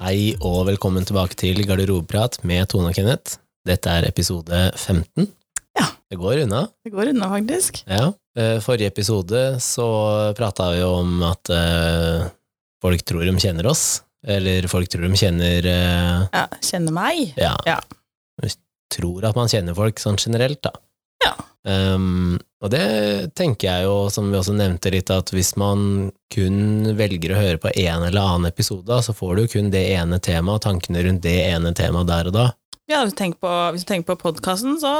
Hei og velkommen tilbake til Garderobeprat med Tone og Kenneth. Dette er episode 15. Ja. Det går unna. Det går unna, faktisk. Ja. Eh, Forrige episode så prata vi om at eh, folk tror de kjenner oss. Eller folk tror de kjenner eh, Ja, kjenner meg. Ja. Ja. Vi tror at man kjenner folk sånn generelt, da. Ja. Ehm, og det tenker jeg jo, som vi også nevnte litt, at hvis man kun velger å høre på en eller annen episode, da, så får du jo kun det ene temaet og tankene rundt det ene temaet der og da. Ja, hvis du tenker på, hvis du tenker på podkasten, så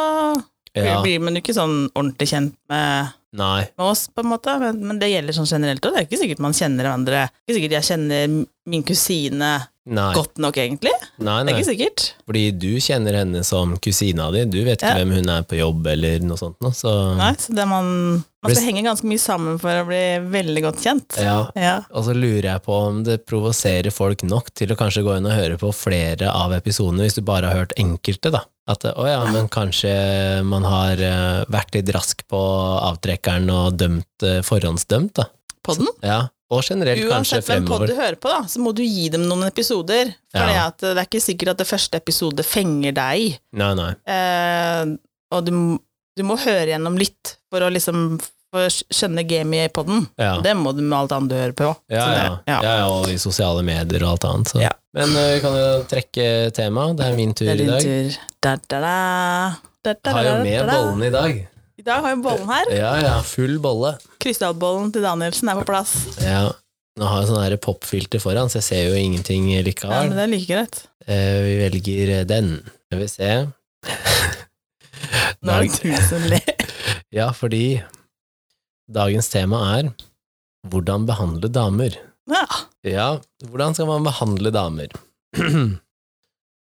Ja, blir man jo ikke sånn ordentlig kjent med, nei, med oss, på en måte. Men, men det gjelder sånn generelt, og det er ikke sikkert man kjenner hverandre. Det er ikke sikkert jeg kjenner min kusine nei, godt nok, egentlig. nei, Det er nei. ikke sikkert. Fordi du kjenner henne som kusina di, du vet ikke Ja. hvem hun er på jobb eller noe sånt nå, så Nei, så det man, man Mm. Hvis- skal henge ganske mye sammen for å bli veldig godt kjent. ja. Ja. Og så lurer jeg på om det provoserer folk nok til å kanskje gå inn og høre på flere av episodene, hvis du bare har hørt enkelte, da. At å ja, men kanskje man har eh, vært litt rask på avtrekkeren og dømt eh, forhåndsdømt, da. Podden. Ja. Og generelt kanskje Uansett hvem podd fremover. du hører på, da, så må du gi dem noen episoder. For det, Ja. at, det er ikke sikkert at det første episode fenger deg. Nei, nei. Eh, og du, m- du må høre gjennom litt for å liksom for å sk- skjønne gamet i podden. Ja. Det må du med alt annet du hører på. Ja, Så det- ja. ja. ja, og i sosiale medier og alt annet. Så. Ja. Men eh, vi kan jo trekke tema. Det er min tur Det i er din dag. tur. Da, da, da. Da, da, Har jo da, med da, da. bollene i dag. I dag har vi bollen her. Ja, ja. Full bolle. Krystallbollen til Danielsen er på plass. Ja. Nå har jeg sånn her popfilter foran, så jeg ser jo ingenting Ja, likevel. men det er like greit. Eh, vi velger den. Skal vi se. Nå er det tusen le. Ja, fordi dagens tema er hvordan behandle damer. Ja. Ja, hvordan skal man behandle damer?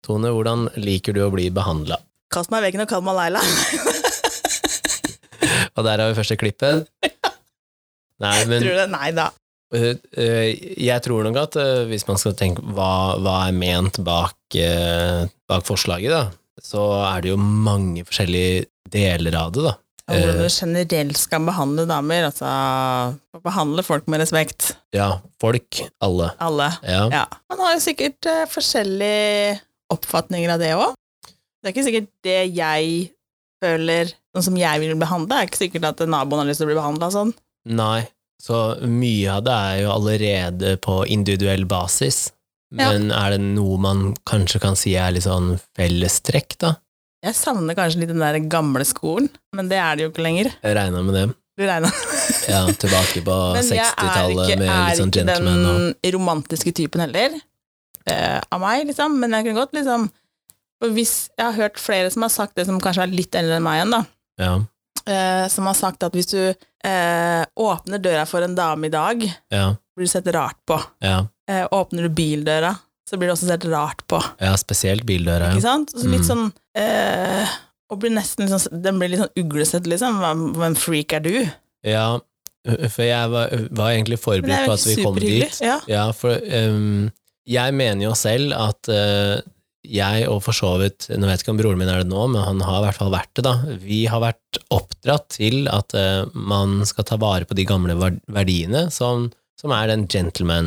Tone, hvordan liker du å bli behandla? Kast meg i veggen og kall meg Leila. Og der har vi første klippet. Nei, men Tror du det? Nei da. eh, eh, jeg tror nok at eh, hvis man skal tenke hva, hva er ment bak, eh, bak forslaget, da, så er det jo mange forskjellige deler av det, da. Og Hvordan Eh. du generelt skal behandle damer. Altså, behandle folk med respekt. Ja, folk, alle. Alle. Ja. Ja. Man har jo sikkert eh, forskjellige oppfatninger av det òg. Det er ikke sikkert det jeg føler sånn som jeg vil behandle, er ikke sikkert at naboen har lyst til å bli behandla sånn. Nei, så mye av det er jo allerede på individuell basis. Ja. Men er det noe man kanskje kan si er litt sånn fellestrekk, da? Jeg savner kanskje litt den der gamle skolen, men det er det jo ikke lenger. Jeg regna med det. Du regner. Ja, tilbake på Men jeg er 60-tallet ikke, med er litt sånn ikke gentleman og den romantiske typen heller, eh, av meg, liksom. Men jeg kunne godt liksom For hvis jeg har hørt flere som har sagt det, som kanskje er litt eldre enn meg igjen, da. ja. eh, som har sagt at hvis du eh, åpner døra for en dame i dag, ja, blir du sett rart på. ja, Eh, åpner du bildøra, så blir du også sett rart på. ja, spesielt bildøra. Ikke Ja. sant? Så litt Mm. sånn eh, og blir nesten litt sånn, Den blir litt sånn uglesett, liksom. Hvem, hvem freak er du? ja, for jeg var, var egentlig Men det forberedt er på jo at vi kom superhyggelig. dit. Ja. Ja, for ehm, jeg mener jo selv at eh, jeg, og for så vidt Nå vet jeg ikke om broren min er det nå, men han har i hvert fall vært det, da. Vi har vært oppdratt til at eh, man skal ta vare på de gamle verd- verdiene som, som er den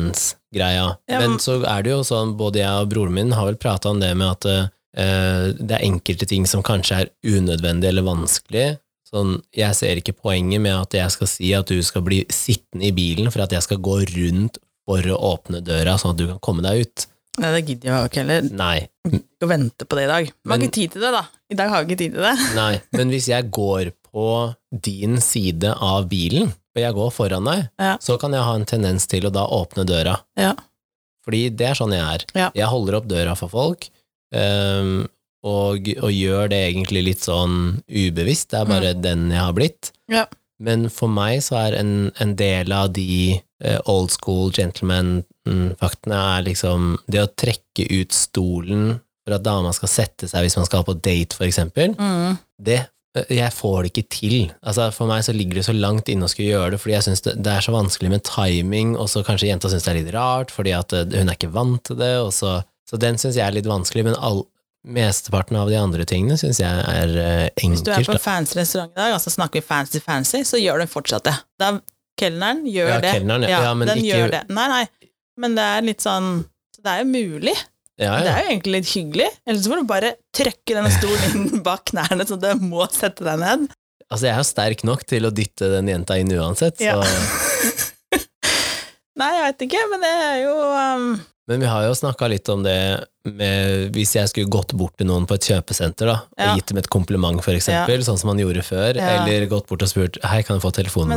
gentlemans-greia. Ja, men men- så er det jo sånn, både jeg og broren min har vel prata om det med at eh, det er enkelte ting som kanskje er unødvendige eller vanskelige. Sånn, jeg ser ikke poenget med at jeg skal si at du skal bli sittende i bilen for at jeg skal gå rundt for å åpne døra sånn at du kan komme deg ut. Nei, det gidder jeg jo ikke heller. Nei. Ikke å vente på det i dag. Man har Men- ikke tid til det, da. I dag har vi ikke tid til det. Nei. Men hvis jeg går på din side av bilen, og jeg går foran deg, Ja. så kan jeg ha en tendens til å da åpne døra. Ja. Fordi det er sånn jeg er. Ja. Jeg holder opp døra for folk, ehm, og, og gjør det egentlig litt sånn ubevisst. Det er bare Mm. den jeg har blitt. Ja. Men for meg så er en, en del av de eh, old school gentleman-faktene er liksom det å trekke ut stolen for at dama skal sette seg hvis man skal på date, for eksempel. Mm. Det eh, jeg får det ikke til. Altså For meg så ligger det så langt inne å skulle gjøre det, fordi jeg synes det, det er så vanskelig med timing, og så kanskje jenta syns det er litt rart, fordi at eh, hun er ikke vant til det, og så Så den syns jeg er litt vanskelig, men all, mesteparten av de andre tingene syns jeg er eh, Hvis du er enkelt. på da. en fancy restaurant i dag, og så snakker vi fancy-fancy, så gjør den fortsatt det. Da kelneren gjør Ja, det. kelneren, ja. Ja, men den ikke- gjør det. Nei, nei. Men det er litt sånn Så det er jo mulig. Ja, Det ja. er jo egentlig litt hyggelig. Eller så får du bare trykke denne stolen inn bak knærne, så du må sette deg ned. Altså, jeg er jo sterk nok til å dytte den jenta inn uansett, så Ja. Nei, jeg veit ikke, men det er jo um, Men vi har jo snakka litt om det med hvis jeg skulle gått bort til noen på et kjøpesenter da, Ja. og gitt dem et kompliment, for eksempel, sånn som man gjorde før, Ja. eller gått bort og spurt 'hei, kan jeg få Men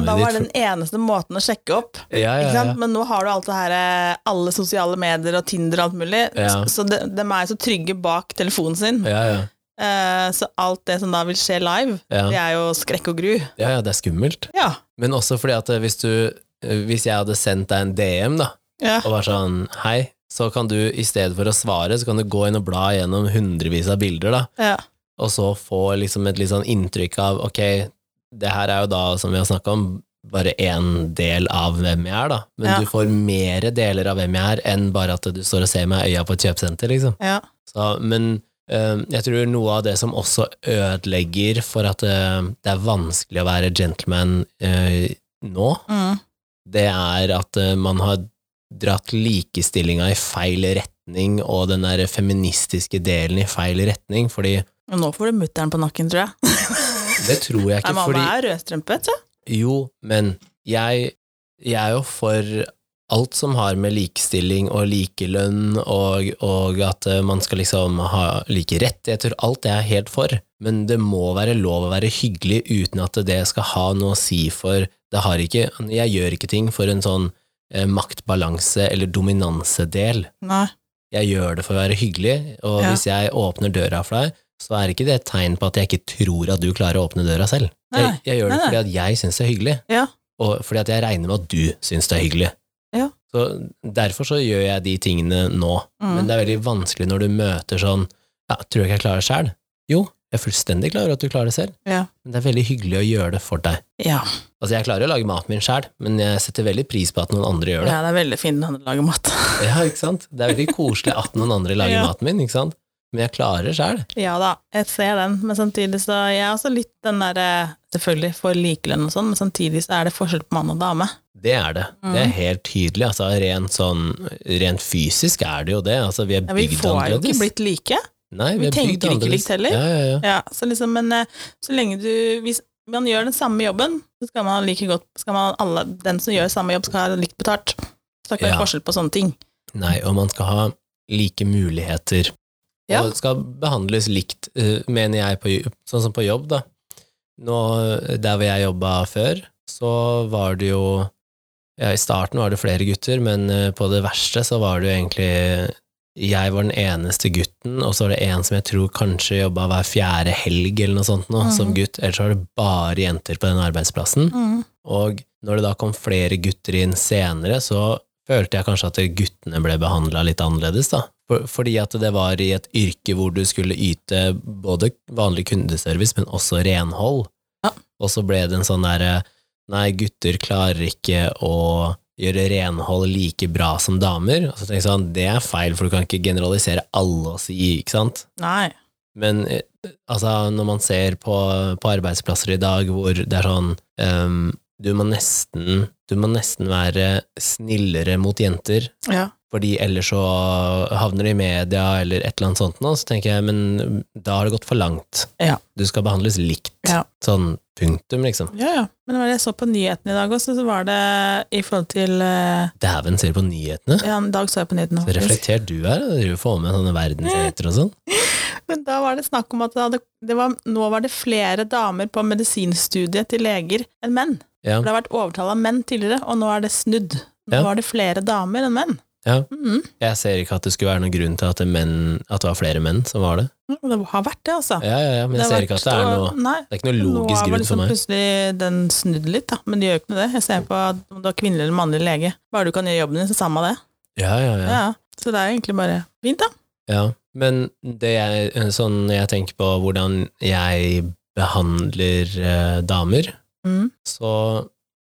da telefonnummeret var ditt?' den eneste måten å sjekke opp. For- Ja, ja, Ikke sant? ja. Men nå har du alt det her, eh, alle sosiale medier og Tinder og alt mulig, Ja. så de, de er jo så trygge bak telefonen sin. Ja, ja. Eh, så alt det som da vil skje live, det Ja. er jo skrekk og gru. ja, ja, det er skummelt. Ja. Men også fordi at eh, hvis du eh, Hvis jeg hadde sendt deg en DM, da, ja. og var sånn 'hei', så kan du i stedet for å svare, så kan du gå inn og bla gjennom hundrevis av bilder, da, ja. og så få liksom et litt sånn inntrykk av 'ok, det her er jo da, som vi har snakka om, bare én del av hvem jeg er', da. Men Ja. du får mere deler av hvem jeg er, enn bare at du står og ser meg i øya på et kjøpesenter, liksom. ja. Så, men eh, jeg tror noe av det som også ødelegger for at eh, det er vanskelig å være gentleman eh, nå, Mm. det er at eh, man har dratt likestillinga i feil retning, og den der feministiske delen i feil retning, fordi Og Nå får du mutter'n på nakken, tror jeg. det tror jeg Nei, ikke, mamma fordi er rødstrømpet, så. Jo, men jeg, jeg er jo for alt som har med likestilling og likelønn og, og at eh, man skal liksom ha like rettigheter, alt det er jeg helt for. Men det må være lov å være hyggelig uten at det skal ha noe å si for det har ikke, Jeg gjør ikke ting for en sånn eh, maktbalanse eller dominansedel. Nei. Jeg gjør det for å være hyggelig, og Ja. hvis jeg åpner døra for deg, så er ikke det et tegn på at jeg ikke tror at du klarer å åpne døra selv. Jeg, Nei. jeg gjør det Nei, nei. fordi at jeg syns det er hyggelig, Ja. og fordi at jeg regner med at du syns det er hyggelig. Ja. Så Derfor så gjør jeg de tingene nå, Mm. men det er veldig vanskelig når du møter sånn ja, 'Tror du ikke jeg klarer det sjæl?' Jo, jeg er fullstendig klar over at du klarer det selv, Ja. men det er veldig hyggelig å gjøre det for deg. Ja. Altså, jeg klarer å lage maten min sjæl, men jeg setter veldig pris på at noen andre gjør det. ja, det er veldig fint når du lager mat. Ja, ikke sant? Det er veldig koselig at noen andre lager Ja. maten min, ikke sant? Men jeg klarer sjøl. Ja da, jeg ser den, men samtidig så Jeg er også litt den derre Selvfølgelig for likelønn og sånn, men samtidig så er det forskjell på mann og dame. Det er det. Det Mm. er helt tydelig. Altså, rent, sånn, rent fysisk er det jo det. Altså, vi er Ja, vi bygd får jo ikke annerledes. blitt like. Nei, vi er bygd tenker ikke annerledes. likt heller. Ja, ja, ja. Ja, så liksom, men eh, så lenge du Hvis man gjør den samme jobben, så skal man ha like godt skal man alle, Den som gjør samme jobb, skal ha likt betalt. Så det er ikke Ja. forskjell på sånne ting. Nei, og man skal ha like muligheter. Ja. Og skal behandles likt, eh, mener jeg, på, jo- sånn som på jobb, da. Nå, der hvor jeg jobba før, så var det jo ja, I starten var det flere gutter, men eh, på det verste så var det jo egentlig Jeg var den eneste gutten, og så var det en som jeg tror kanskje jobba hver fjerde helg eller noe sånt nå, Mhm. som gutt. Ellers var det bare jenter på den arbeidsplassen. Mm. Og når det da kom flere gutter inn senere, så følte jeg kanskje at guttene ble behandla litt annerledes, da. For, fordi at det var i et yrke hvor du skulle yte både vanlig kundeservice, men også renhold. Ja. Og så ble det en sånn derre Nei, gutter klarer ikke å gjøre renhold like bra som damer. Og så tenkte jeg sånn, det er feil, for du kan ikke generalisere alle og si, ikke sant? Nei. Men eh, altså, når man ser på, på arbeidsplasser i dag hvor det er sånn ehm, du, må nesten, du må nesten være snillere mot jenter, Ja. fordi ellers så havner de i media eller et eller annet sånt nå, så tenker jeg, men da har det gått for langt. Ja. Du skal behandles likt. Ja. Sånn punktum, liksom. ja, ja. Men det var det jeg så på nyhetene i dag også, så var det i forhold til eh, Dæven, ser du på nyhetene? Ja, en dag så jeg på nyhetene, Så faktisk. reflektert du er, da. du får med sånne verdensnyheter og sånn. Men da var det snakk om at det hadde, det var, nå var det flere damer på medisinstudiet til leger enn menn. Ja. For det har vært overtall av menn tidligere, og nå er det snudd. Nå Ja. var det flere damer enn menn. Ja. Mhm. Jeg ser ikke at det skulle være noen grunn til at det, menn, at det var flere menn som var det. Og det har vært det, altså. Ja, ja, ja, men jeg har ser ikke vært- at det er noe og- Nei, Det er ikke noe sånn logisk Nå har grunn liksom for meg. plutselig den snudd litt, da. Men det gjør jo ikke noe det. Jeg ser på at om du er kvinnelig eller mannlig lege, bare du kan gjøre jobben din, så samme det. Ja, ja, Ja. ja. Så det er egentlig bare fint, da. ja. Men det jeg, sånn jeg tenker på hvordan jeg behandler eh, damer, Mm. så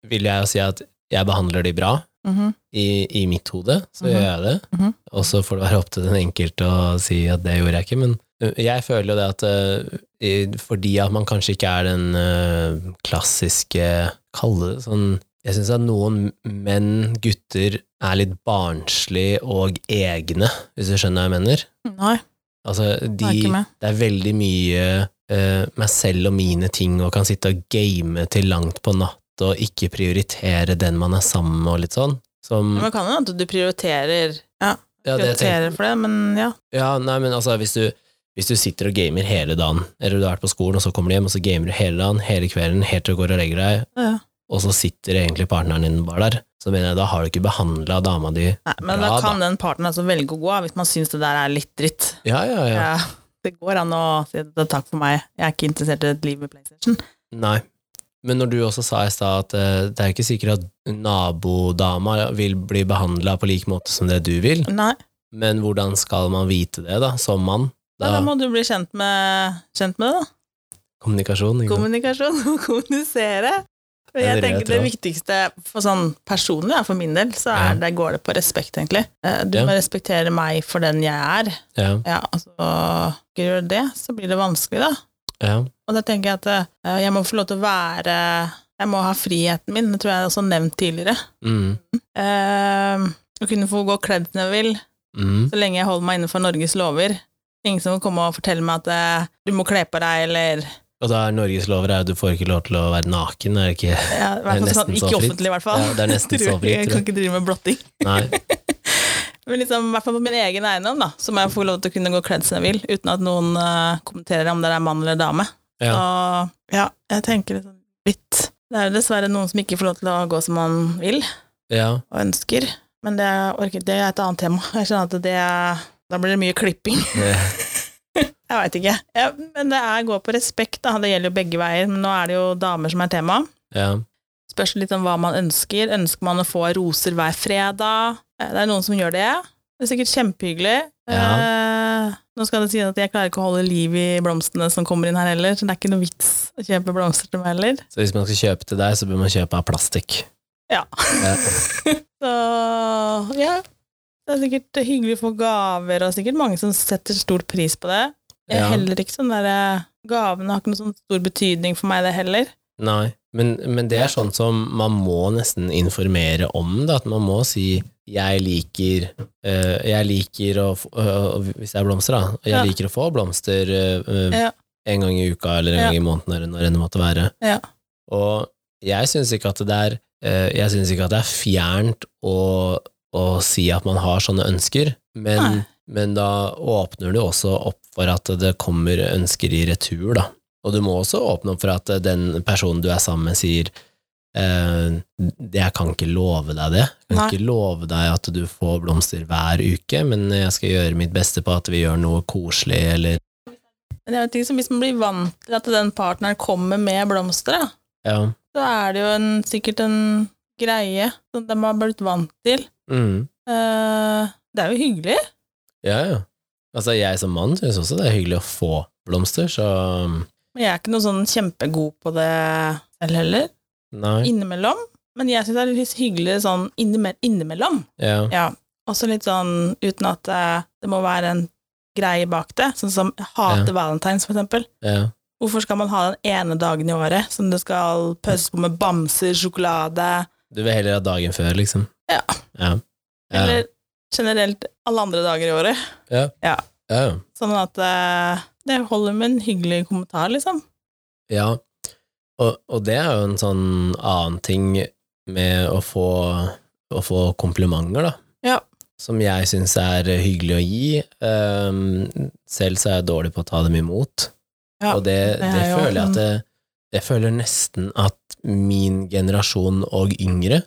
vil jeg jo si at jeg behandler de bra. Mhm. I, i mitt hode så Mhm. gjør jeg det, Mhm. og så får det være opp til den enkelte å si at det gjorde jeg ikke. Men eh, jeg føler jo det at eh, i- fordi at man kanskje ikke er den eh, klassiske, kalle det sånn Jeg syns at noen menn, gutter, er litt barnslig og egne, hvis du skjønner hva jeg mener. Nei, Altså, det er de, ikke med. det er veldig mye eh, meg selv og mine ting, og kan sitte og game til langt på natt, og ikke prioritere den man er sammen med, og litt sånn. Som, Men det kan hende at du prioriterer, ja, ja, det tenker, prioriterer for det, men ja. Ja, nei, men altså, hvis du, hvis du sitter og gamer hele dagen, eller du har vært på skolen, og så kommer du hjem, og så gamer du hele dagen, hele kvelden, helt til du går og legger deg, ja, ja. og så sitter egentlig partneren din bare der, så mener jeg, da har du ikke behandla dama di Nei, men Bra, da kan den parten altså velge å gå av hvis man syns det der er litt dritt. Ja, ja, ja. Ja. Det går an å si at det er takk for meg, jeg er ikke interessert i et liv med PlayStation. Nei. Men når du også sa i stad at eh, det er jo ikke sikkert at nabodama vil bli behandla på lik måte som det du vil, Nei, men hvordan skal man vite det, da, som mann? da, da Da, må du bli kjent med, kjent med det, da. kommunikasjon, ikke sant? Kommunikasjon og kommunisere. Og Ja, jeg det er tenker rett, det ja. viktigste for sånn personlig, ja, for min del, så Ja. er det, går det på respekt, egentlig. Eh, Du Ja. må respektere meg for den jeg er. Ja, Ja, altså, ikke gjør det, så blir det vanskelig, da. ja, Og da tenker jeg at eh, jeg må få lov til å være Jeg må ha friheten min, det tror jeg jeg også har nevnt tidligere. mm, Eh, Å kunne få gå kledd som jeg vil, mm, så lenge jeg holder meg innenfor Norges lover. Ingen som kan komme og fortelle meg at eh, du må kle på deg, eller Og da er Altså, Norges lover er at du får ikke lov til å være naken, er det ikke? ja, i hvert fall, Det er sånn, nesten så Ikke fritt. offentlig, i hvert fall. Ja, det er nesten så fritt, Jeg tror kan jeg. ikke drive med blotting. Nei. Men liksom, i hvert fall på min egen eiendom, da, så må jeg få lov til å kunne gå kledd som jeg vil, uten at noen eh, kommenterer om det er mann eller dame. Ja. Og ja, jeg tenker liksom litt Det er jo dessverre noen som ikke får lov til å gå som man vil ja. og ønsker, men det, orker, det er et annet tema. Jeg skjønner at det Da blir det mye klipping. Jeg veit ikke. Ja, men det er gå på respekt, da. Det gjelder jo begge veier. Men nå er det jo damer som er tema. ja. Spørs litt om hva man ønsker. Ønsker man å få roser hver fredag? Eh, Det er noen som gjør det. Det er sikkert kjempehyggelig. Eh, nå skal det si at jeg klarer ikke å holde liv i blomstene som kommer inn her heller, så det er ikke noe vits å kjøpe blomster til meg heller. Så hvis man skal kjøpe til deg, så bør man kjøpe av plastikk. Ja. Ja. Så ja, det er sikkert hyggelig å få gaver, og sikkert mange som setter stor pris på det. Jeg er Ja. heller ikke sånn der eh, Gavene har ikke noe sånn stor betydning for meg, det heller. Nei, men, men det er sånn som man må nesten informere om det, at man må si jeg liker, eh, jeg liker å, få- øh, hvis det er blomster da, jeg Ja. liker å få blomster eh, eh, Ja. en gang i uka eller en Ja. gang i måneden eller når enn det måtte være. Ja. Og jeg synes ikke at det er, eh, jeg synes ikke at det er fjernt å, å si at man har sånne ønsker, men, Nei. men da åpner du også opp for at det kommer ønsker i retur da. Og du må også åpne opp for at eh, den personen du er sammen med sier eh, det- jeg kan ikke love deg det. Jeg kan Nei. ikke love deg at du får blomster hver uke, men jeg skal gjøre mitt beste på at vi gjør noe koselig, eller Men det er jo ting som hvis man blir vant til at den partneren kommer med blomster, da, Ja. så er det jo en, sikkert en greie som de har blitt vant til. Mm. Eh, det er jo hyggelig. Ja, ja. Altså, jeg som mann syns også det er hyggelig å få blomster, så mm, Men jeg er ikke noe sånn kjempegod på det selv heller. Nei. Innimellom. Men jeg syns det er litt hyggelig sånn innime- innimellom. Ja. Ja. Også litt sånn uten at eh, det må være en greie bak det. Sånn som jeg hater valentines, for eksempel. ja. Hvorfor skal man ha den ene dagen i året som du skal pøse på med bamser, sjokolade, Du vil heller ha dagen før, liksom? Ja. Ja. Ja. eller generelt alle andre dager i året? ja. ja. Sånn at eh, det holder med en hyggelig kommentar, liksom. Ja, og, og det er jo en sånn annen ting med å få, å få komplimenter, da. Ja. Som jeg syns er hyggelig å gi. Ehm, selv så er jeg dårlig på å ta dem imot. Ja, og det, det det, er jo føler jeg en- at det, Jeg føler nesten at min generasjon og yngre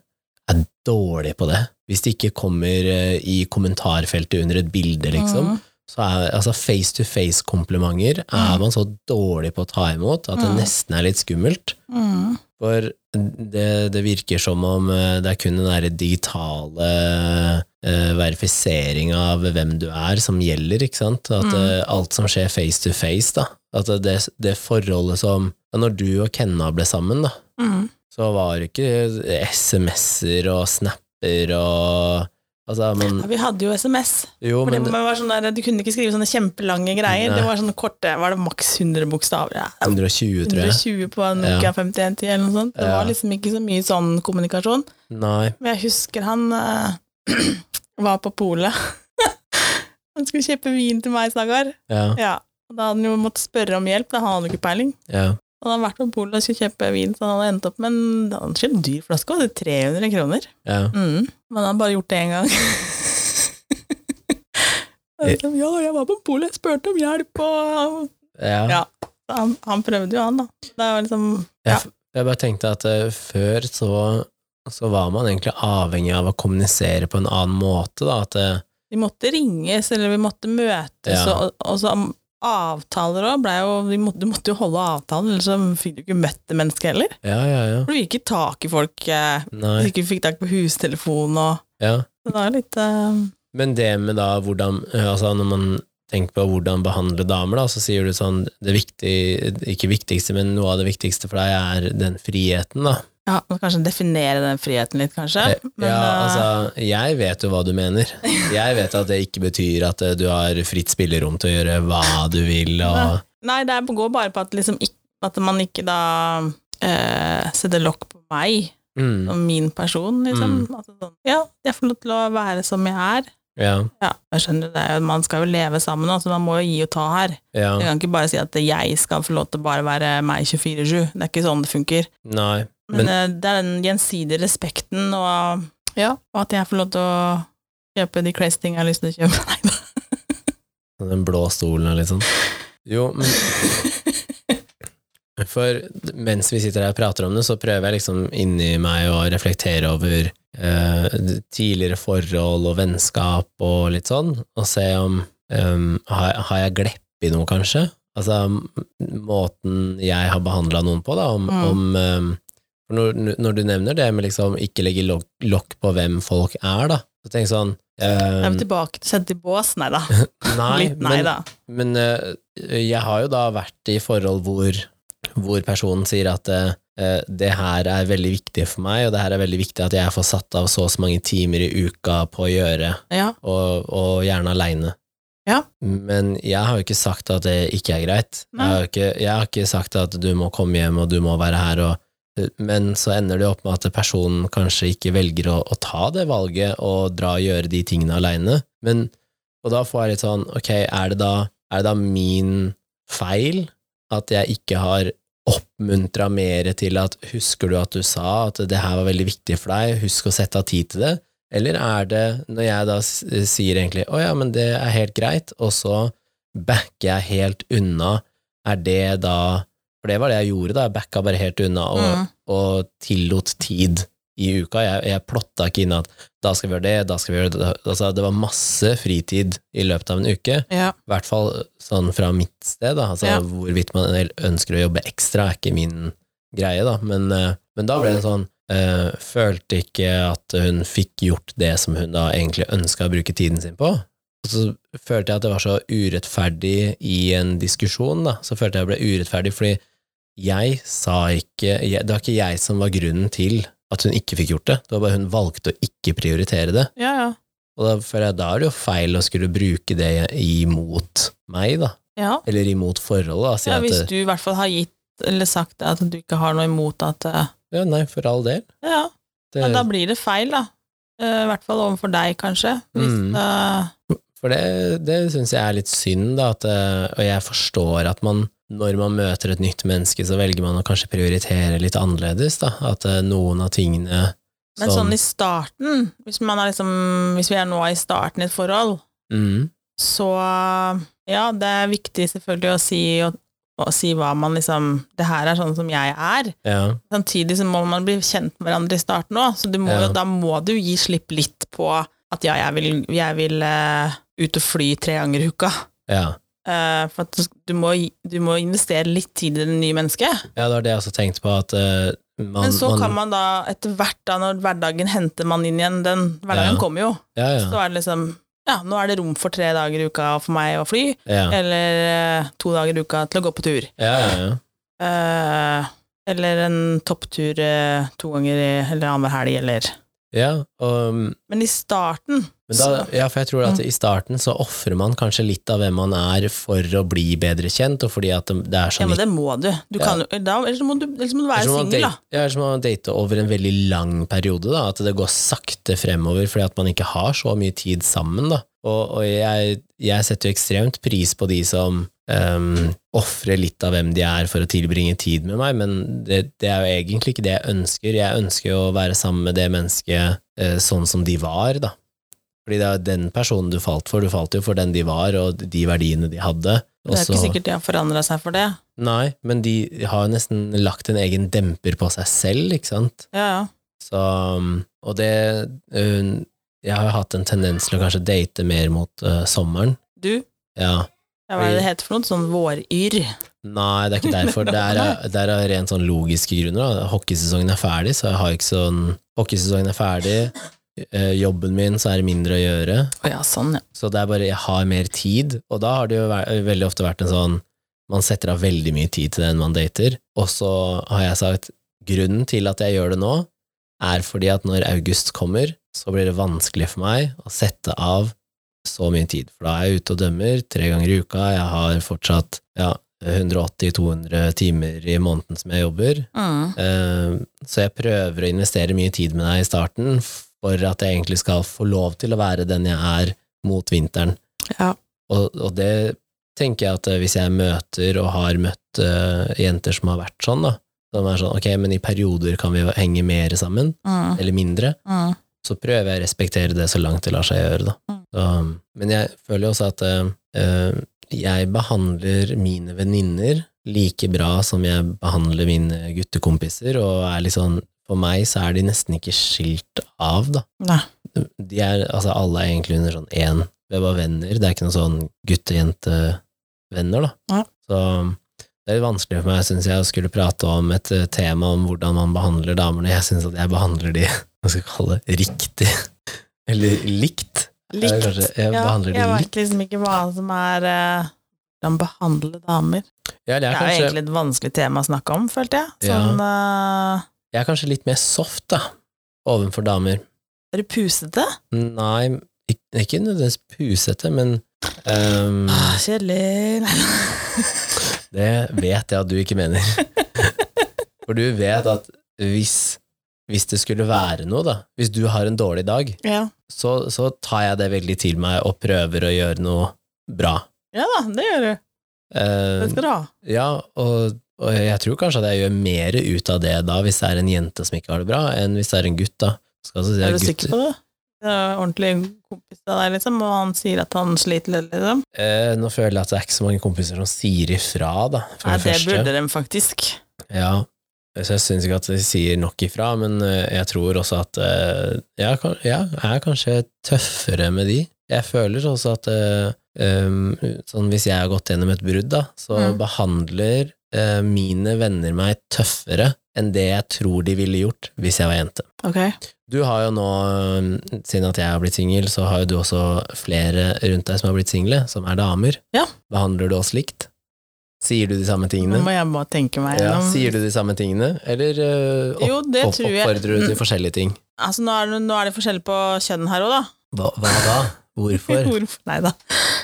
er dårlig på det. Hvis det ikke kommer eh, i kommentarfeltet under et bilde, liksom Mm. så er altså face to face komplimenter er Mm. man så dårlig på å ta imot at det Mm. nesten er litt skummelt. Mm. For det, det virker som om eh, det er kun den derre digitale eh, verifisering av hvem du er som gjelder, ikke sant? At Mm. eh, alt som skjer face to face, da. At det, det forholdet som ja, Når du og Kenna ble sammen, da, Mm. eh, så var det ikke SMS-er og snapper og Altså, men, Ja, vi hadde jo SMS. jo, For det men var sånn der, du kunne ikke skrive sånne kjempelange greier. Nei. Det var sånne korte Var det maks 100 bokstaver? Ja, 120, tror jeg. 120 på en Ja. Nokia 5110 eller noe sånt. Det Ja. var liksom ikke så mye sånn kommunikasjon. Nei. Men jeg husker han eh, var på polet. han skulle kjøpe vin til meg, stakkar. Ja, Ja. og Da hadde han jo måttet spørre om hjelp, da han hadde jo ikke peiling. ja. Han hadde vært på polet og skulle kjøpe vin, så han hadde endt opp med en han hadde kjøpt dyr flaske, og det var 300 kroner. ja. Mm. Men han hadde bare gjort det én gang. Han liksom, ja, jeg var på polet, jeg spurte om hjelp, og ja. Ja. han, han prøvde jo, han, da. Det var liksom Jeg, jeg bare tenkte at eh, før så, så var man egentlig avhengig av å kommunisere på en annen måte, da. At eh, Vi måtte ringes, eller vi måtte møtes, Ja. og, og så am- avtaler òg blei jo vi måtte, Du måtte jo holde avtalen, ellers så fikk du ikke møtt det mennesket heller. Ja, ja, ja. For du gikk ikke tak i folk eh, hvis Nei. ikke du fikk tak på hustelefonen og Ja. Så det er litt eh, Men det med da hvordan eh, Altså, når man tenker på hvordan behandle damer, da, så sier du sånn Det viktige, ikke viktigste, men noe av det viktigste for deg er den friheten, da. Ja, må kanskje definere den friheten litt, kanskje. Eh, Men, ja, eh, altså, jeg vet jo hva du mener. Jeg vet at det ikke betyr at eh, du har fritt spillerom til å gjøre hva du vil, og Nei, det er- går bare på at, liksom, ikk- at man ikke da eh, setter lokk på meg mm, og min person, liksom. Altså, sånn, ja, jeg får lov til å være som jeg er. Ja, Ja, jeg skjønner det. er jo- Man skal jo leve sammen, altså man må jo gi og ta her. ja. Jeg kan ikke bare si at jeg skal få lov til å bare være meg 24-7. Det er ikke sånn det funker. Nei. Men, Men eh, det er den gjensidige respekten og, ja, og at jeg får lov til å kjøpe de crazy tingene jeg har lyst til å kjøpe. Nei, da. den blå stolen og litt sånn. Jo, men For mens vi sitter her og prater om det, så prøver jeg liksom inni meg å reflektere over eh, tidligere forhold og vennskap og litt sånn, og se om em, har, har jeg glepp i noe, kanskje? Altså m- måten jeg har behandla noen på, da, om, Mm. om em, for når, når du nevner det med liksom ikke legge lok- lokk på hvem folk er, da, så tenk sånn Jeg er um, vi tilbake til sett i bås. Nei da. Nei, Litt nei men, da. men eh, jeg har jo da vært i forhold hvor, hvor personen sier at eh, eh, det her er veldig viktig for meg, og det her er veldig viktig at jeg får satt av så og så mange timer i uka på å gjøre, Ja. og, og gjerne aleine. Ja. Men jeg har jo ikke sagt at det ikke er greit. Jeg Nei. har, jo ikke, jeg har ikke sagt at du må komme hjem, og du må være her, og men så ender det jo opp med at personen kanskje ikke velger å, å ta det valget og dra og gjøre de tingene aleine. Og da får jeg litt sånn Ok, er det da, er det da min feil at jeg ikke har oppmuntra mer til at Husker du at du sa at det her var veldig viktig for deg, husk å sette av tid til det? Eller er det når jeg da s- sier egentlig å ja, men det er helt greit, og så backer jeg helt unna, er det da For det var det jeg gjorde, da. Jeg backa bare helt unna og, Mm. og tillot tid i uka. Jeg, jeg plotta ikke inn at da skal vi gjøre det, da skal vi gjøre det. Altså, det var masse fritid i løpet av en uke. Ja. I hvert fall sånn fra mitt sted, da. Altså, Ja. Hvorvidt man ønsker å jobbe ekstra, er ikke min greie, da. Men, eh, men da ble det sånn eh, Følte ikke at hun fikk gjort det som hun da egentlig ønska å bruke tiden sin på. Og så følte jeg at det var så urettferdig i en diskusjon, da. Så følte jeg jeg ble urettferdig fordi jeg sa ikke jeg, Det var ikke jeg som var grunnen til at hun ikke fikk gjort det. Det var bare hun valgte å ikke prioritere det. ja, ja. Og da føler jeg da er det jo feil å skulle bruke det imot meg, da. ja. Eller imot forholdet, da. Si ja hvis at du i hvert fall har gitt eller sagt at du ikke har noe imot at eh, Ja, nei, for all del. Ja, Det, men da blir det feil, da. Eh, I hvert fall overfor deg, kanskje. Hvis, Mm. eh, For det, det syns jeg er litt synd, da. At, eh, og jeg forstår at man, når man møter et nytt menneske, så velger man å kanskje prioritere litt annerledes, da. At eh, noen av tingene men sånn i starten, hvis, man er liksom, hvis vi er nå i starten i et forhold, mm, så Ja, det er viktig selvfølgelig å si, å, å si hva man liksom Det her er sånn som jeg er. ja, Samtidig så må man bli kjent med hverandre i starten òg, så du må, Ja. jo- da må du gi slipp litt på at ja, jeg vil, jeg vil eh, ut og fly tre ganger i uka. ja. Eh, for at du, sk- du, må, gi- du må investere litt tid i det nye mennesket. Ja, det var det jeg også tenkte på, at eh, man Men så man, kan man da etter hvert, da når hverdagen henter man inn igjen Den hverdagen Ja. kommer jo. Ja, Så ja. er det liksom Ja, nå er det rom for tre dager i uka for meg å fly, Ja, eller eh, to dager i uka til å gå på tur. ja, ja, ja. Eh, eller en topptur eh, to ganger i, eller annenhver helg, eller Ja, og, mm, Men i starten men da, så- ja, for jeg tror at i starten så ofrer man kanskje litt av hvem man er for å bli bedre kjent, og fordi at det er Ja, sånn men litt det må du. du Ja. kan, jo- da, ellers må du, ellers må du være Ellers må man singel, da. date- Ja, ellers må man date over en veldig lang periode, da. At det går sakte fremover fordi at man ikke har så mye tid sammen, da. Og, og jeg, jeg setter jo ekstremt pris på de som um, ofrer litt av hvem de er for å tilbringe tid med meg, men det, det er jo egentlig ikke det jeg ønsker. Jeg ønsker jo å være sammen med det mennesket eh, sånn som de var, da. Fordi det er den personen du falt for. Du falt jo for den de var, og de verdiene de hadde. Det er jo ikke Også- sikkert de har forandra seg for det. Nei, men de har jo nesten lagt en egen demper på seg selv, ikke sant? Ja, ja. Så, um, og det um, Jeg har jo hatt en tendens til å kanskje date mer mot uh, sommeren. Du, Ja. ja, hva er det det heter for noe? Sånn våryr. Nei, det er ikke derfor. Det er, det er av rent sånn logiske grunner. Da. Hockeysesongen er ferdig, så jeg har ikke sånn Hockeysesongen er ferdig, eh, jobben min, så er det mindre å gjøre. Å ja, sånn, ja. Så det er bare jeg har mer tid, og da har det jo vært, veldig ofte vært en sånn Man setter av veldig mye tid til den man dater, og så har jeg sagt grunnen til at jeg gjør det nå, er fordi at når august kommer, så blir det vanskelig for meg å sette av så mye tid. For da er jeg ute og dømmer tre ganger i uka, jeg har fortsatt ja, 180-200 timer i måneden som jeg jobber. Mm. Eh, Så jeg prøver å investere mye tid med deg i starten for at jeg egentlig skal få lov til å være den jeg er mot vinteren. Ja. Og, og det tenker jeg at eh, hvis jeg møter og har møtt eh, jenter som har vært sånn, da, som er sånn ok, men i perioder kan vi henge mer sammen, Mm. eller mindre, Mm. så prøver jeg å respektere det så langt det lar seg gjøre, da. Mm. Så, men jeg føler jo også at eh, eh, jeg behandler mine venninner like bra som jeg behandler mine guttekompiser, og er litt sånn For meg så er de nesten ikke skilt av, da. Nei. De er, altså alle er egentlig under sånn én. Vi er bare venner, det er ikke noen sånn gutte-jente-venner, da. Nei. Så det er litt vanskelig for meg, syns jeg, å skulle prate om et eh, tema om hvordan man behandler damer, når jeg syns at jeg behandler de hva skal jeg kalle det, riktig. Eller likt. Jeg er Likt. kanskje- jeg behandler de jeg likt. vet liksom ikke hva som er eh, Hvordan behandle damer. Ja, eller jeg, Det er jo er kanskje, egentlig et vanskelig tema å snakke om, følte jeg. Sånn eh, jeg er kanskje litt mer soft, da, overfor damer. Er du pusete? Nei, ik- ikke nødvendigvis pusete, men ehm, Ah, Kjedelig. det vet jeg at du ikke mener. For du vet at hvis, hvis det skulle være noe, da, hvis du har en dårlig dag, ja. så, så tar jeg det veldig til meg og prøver å gjøre noe bra. ja da, det gjør du. Det Uh, skal du ha. Ja, og, og jeg tror kanskje at jeg gjør mer ut av det da, hvis det er en jente som ikke har det bra, enn hvis det er en gutt, da. Skal altså si at Er du gutter- sikker på det? Det er jo ordentlig kompis av deg, liksom, og han sier at han sliter litt, liksom. Eh, nå føler jeg at det er ikke så mange kompiser som sier ifra, da, for det Nei, det første. burde de faktisk. Ja, så jeg syns ikke at de sier nok ifra, men eh, jeg tror også at eh, jeg, kan, ja, jeg er kanskje tøffere med de. Jeg føler også at eh, um, sånn hvis jeg har gått gjennom et brudd, da, så Mm. behandler eh, mine venner meg tøffere enn det jeg tror de ville gjort hvis jeg var jente. Ok. Du har jo nå, øhm, siden at jeg har blitt singel, så har jo du også flere rundt deg som har blitt single, som er damer. Ja. Behandler du oss likt? Sier du de samme Nå tingene? må jeg bare tenke meg Ja, gjennom. sier du de samme tingene, eller øh, opp, Jo, det opp- tror jeg. Mm. oppfordrer du til forskjellige ting? Altså, nå er det, nå er det forskjell på kjønn her òg, da. Hva, hva da? Hvorfor? Hvorfor? Nei da.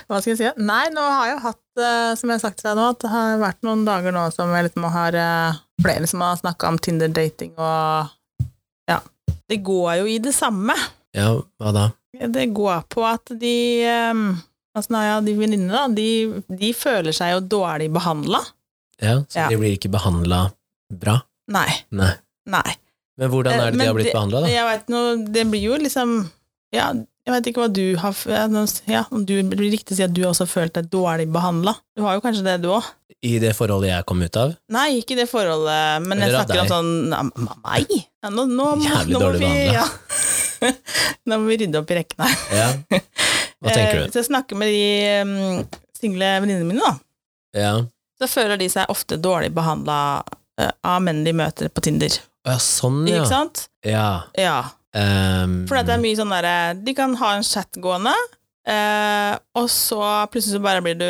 Hva skal jeg si? Nei, nå har jeg jo hatt, eh, som jeg har sagt til deg nå, at det har vært noen dager nå som jeg liksom har eh, flere som har snakka om Tinder-dating og Ja. Det går jo i det samme. Ja, hva da? Det går på at de eh, Altså, nå har jeg de venninnene, da. De, de føler seg jo dårlig behandla. Ja, så Ja. de blir ikke behandla bra? Nei. Nei. Nei. Men hvordan Eh, er det de men har blitt det- behandla, da? Jeg vet noe, det blir jo liksom Ja, jeg vet ikke hva du har f- ja, nå- Ja, om du blir riktig å si at du også har følt deg dårlig behandla. Du har jo kanskje det, du òg? I det forholdet jeg kom ut av? Nei, ikke i det forholdet, men jeg Eller av snakker om deg. sånn ja, m- Meg? Ja, nå, nå, må- Jævlig nå må dårlig vi, behandlet. ja. Nå må vi rydde opp i rekkene. Ja. Hva tenker Eh, du? Så jeg snakker med de um, single venninnene mine, da. Ja. Så føler de seg ofte dårlig behandla av menn de møter på Tinder. Å ja, sånn, Ikke ja. sant? Ja. Ja. ehm, For det er mye sånn derre De kan ha en chat gående, eh, og så plutselig så bare blir du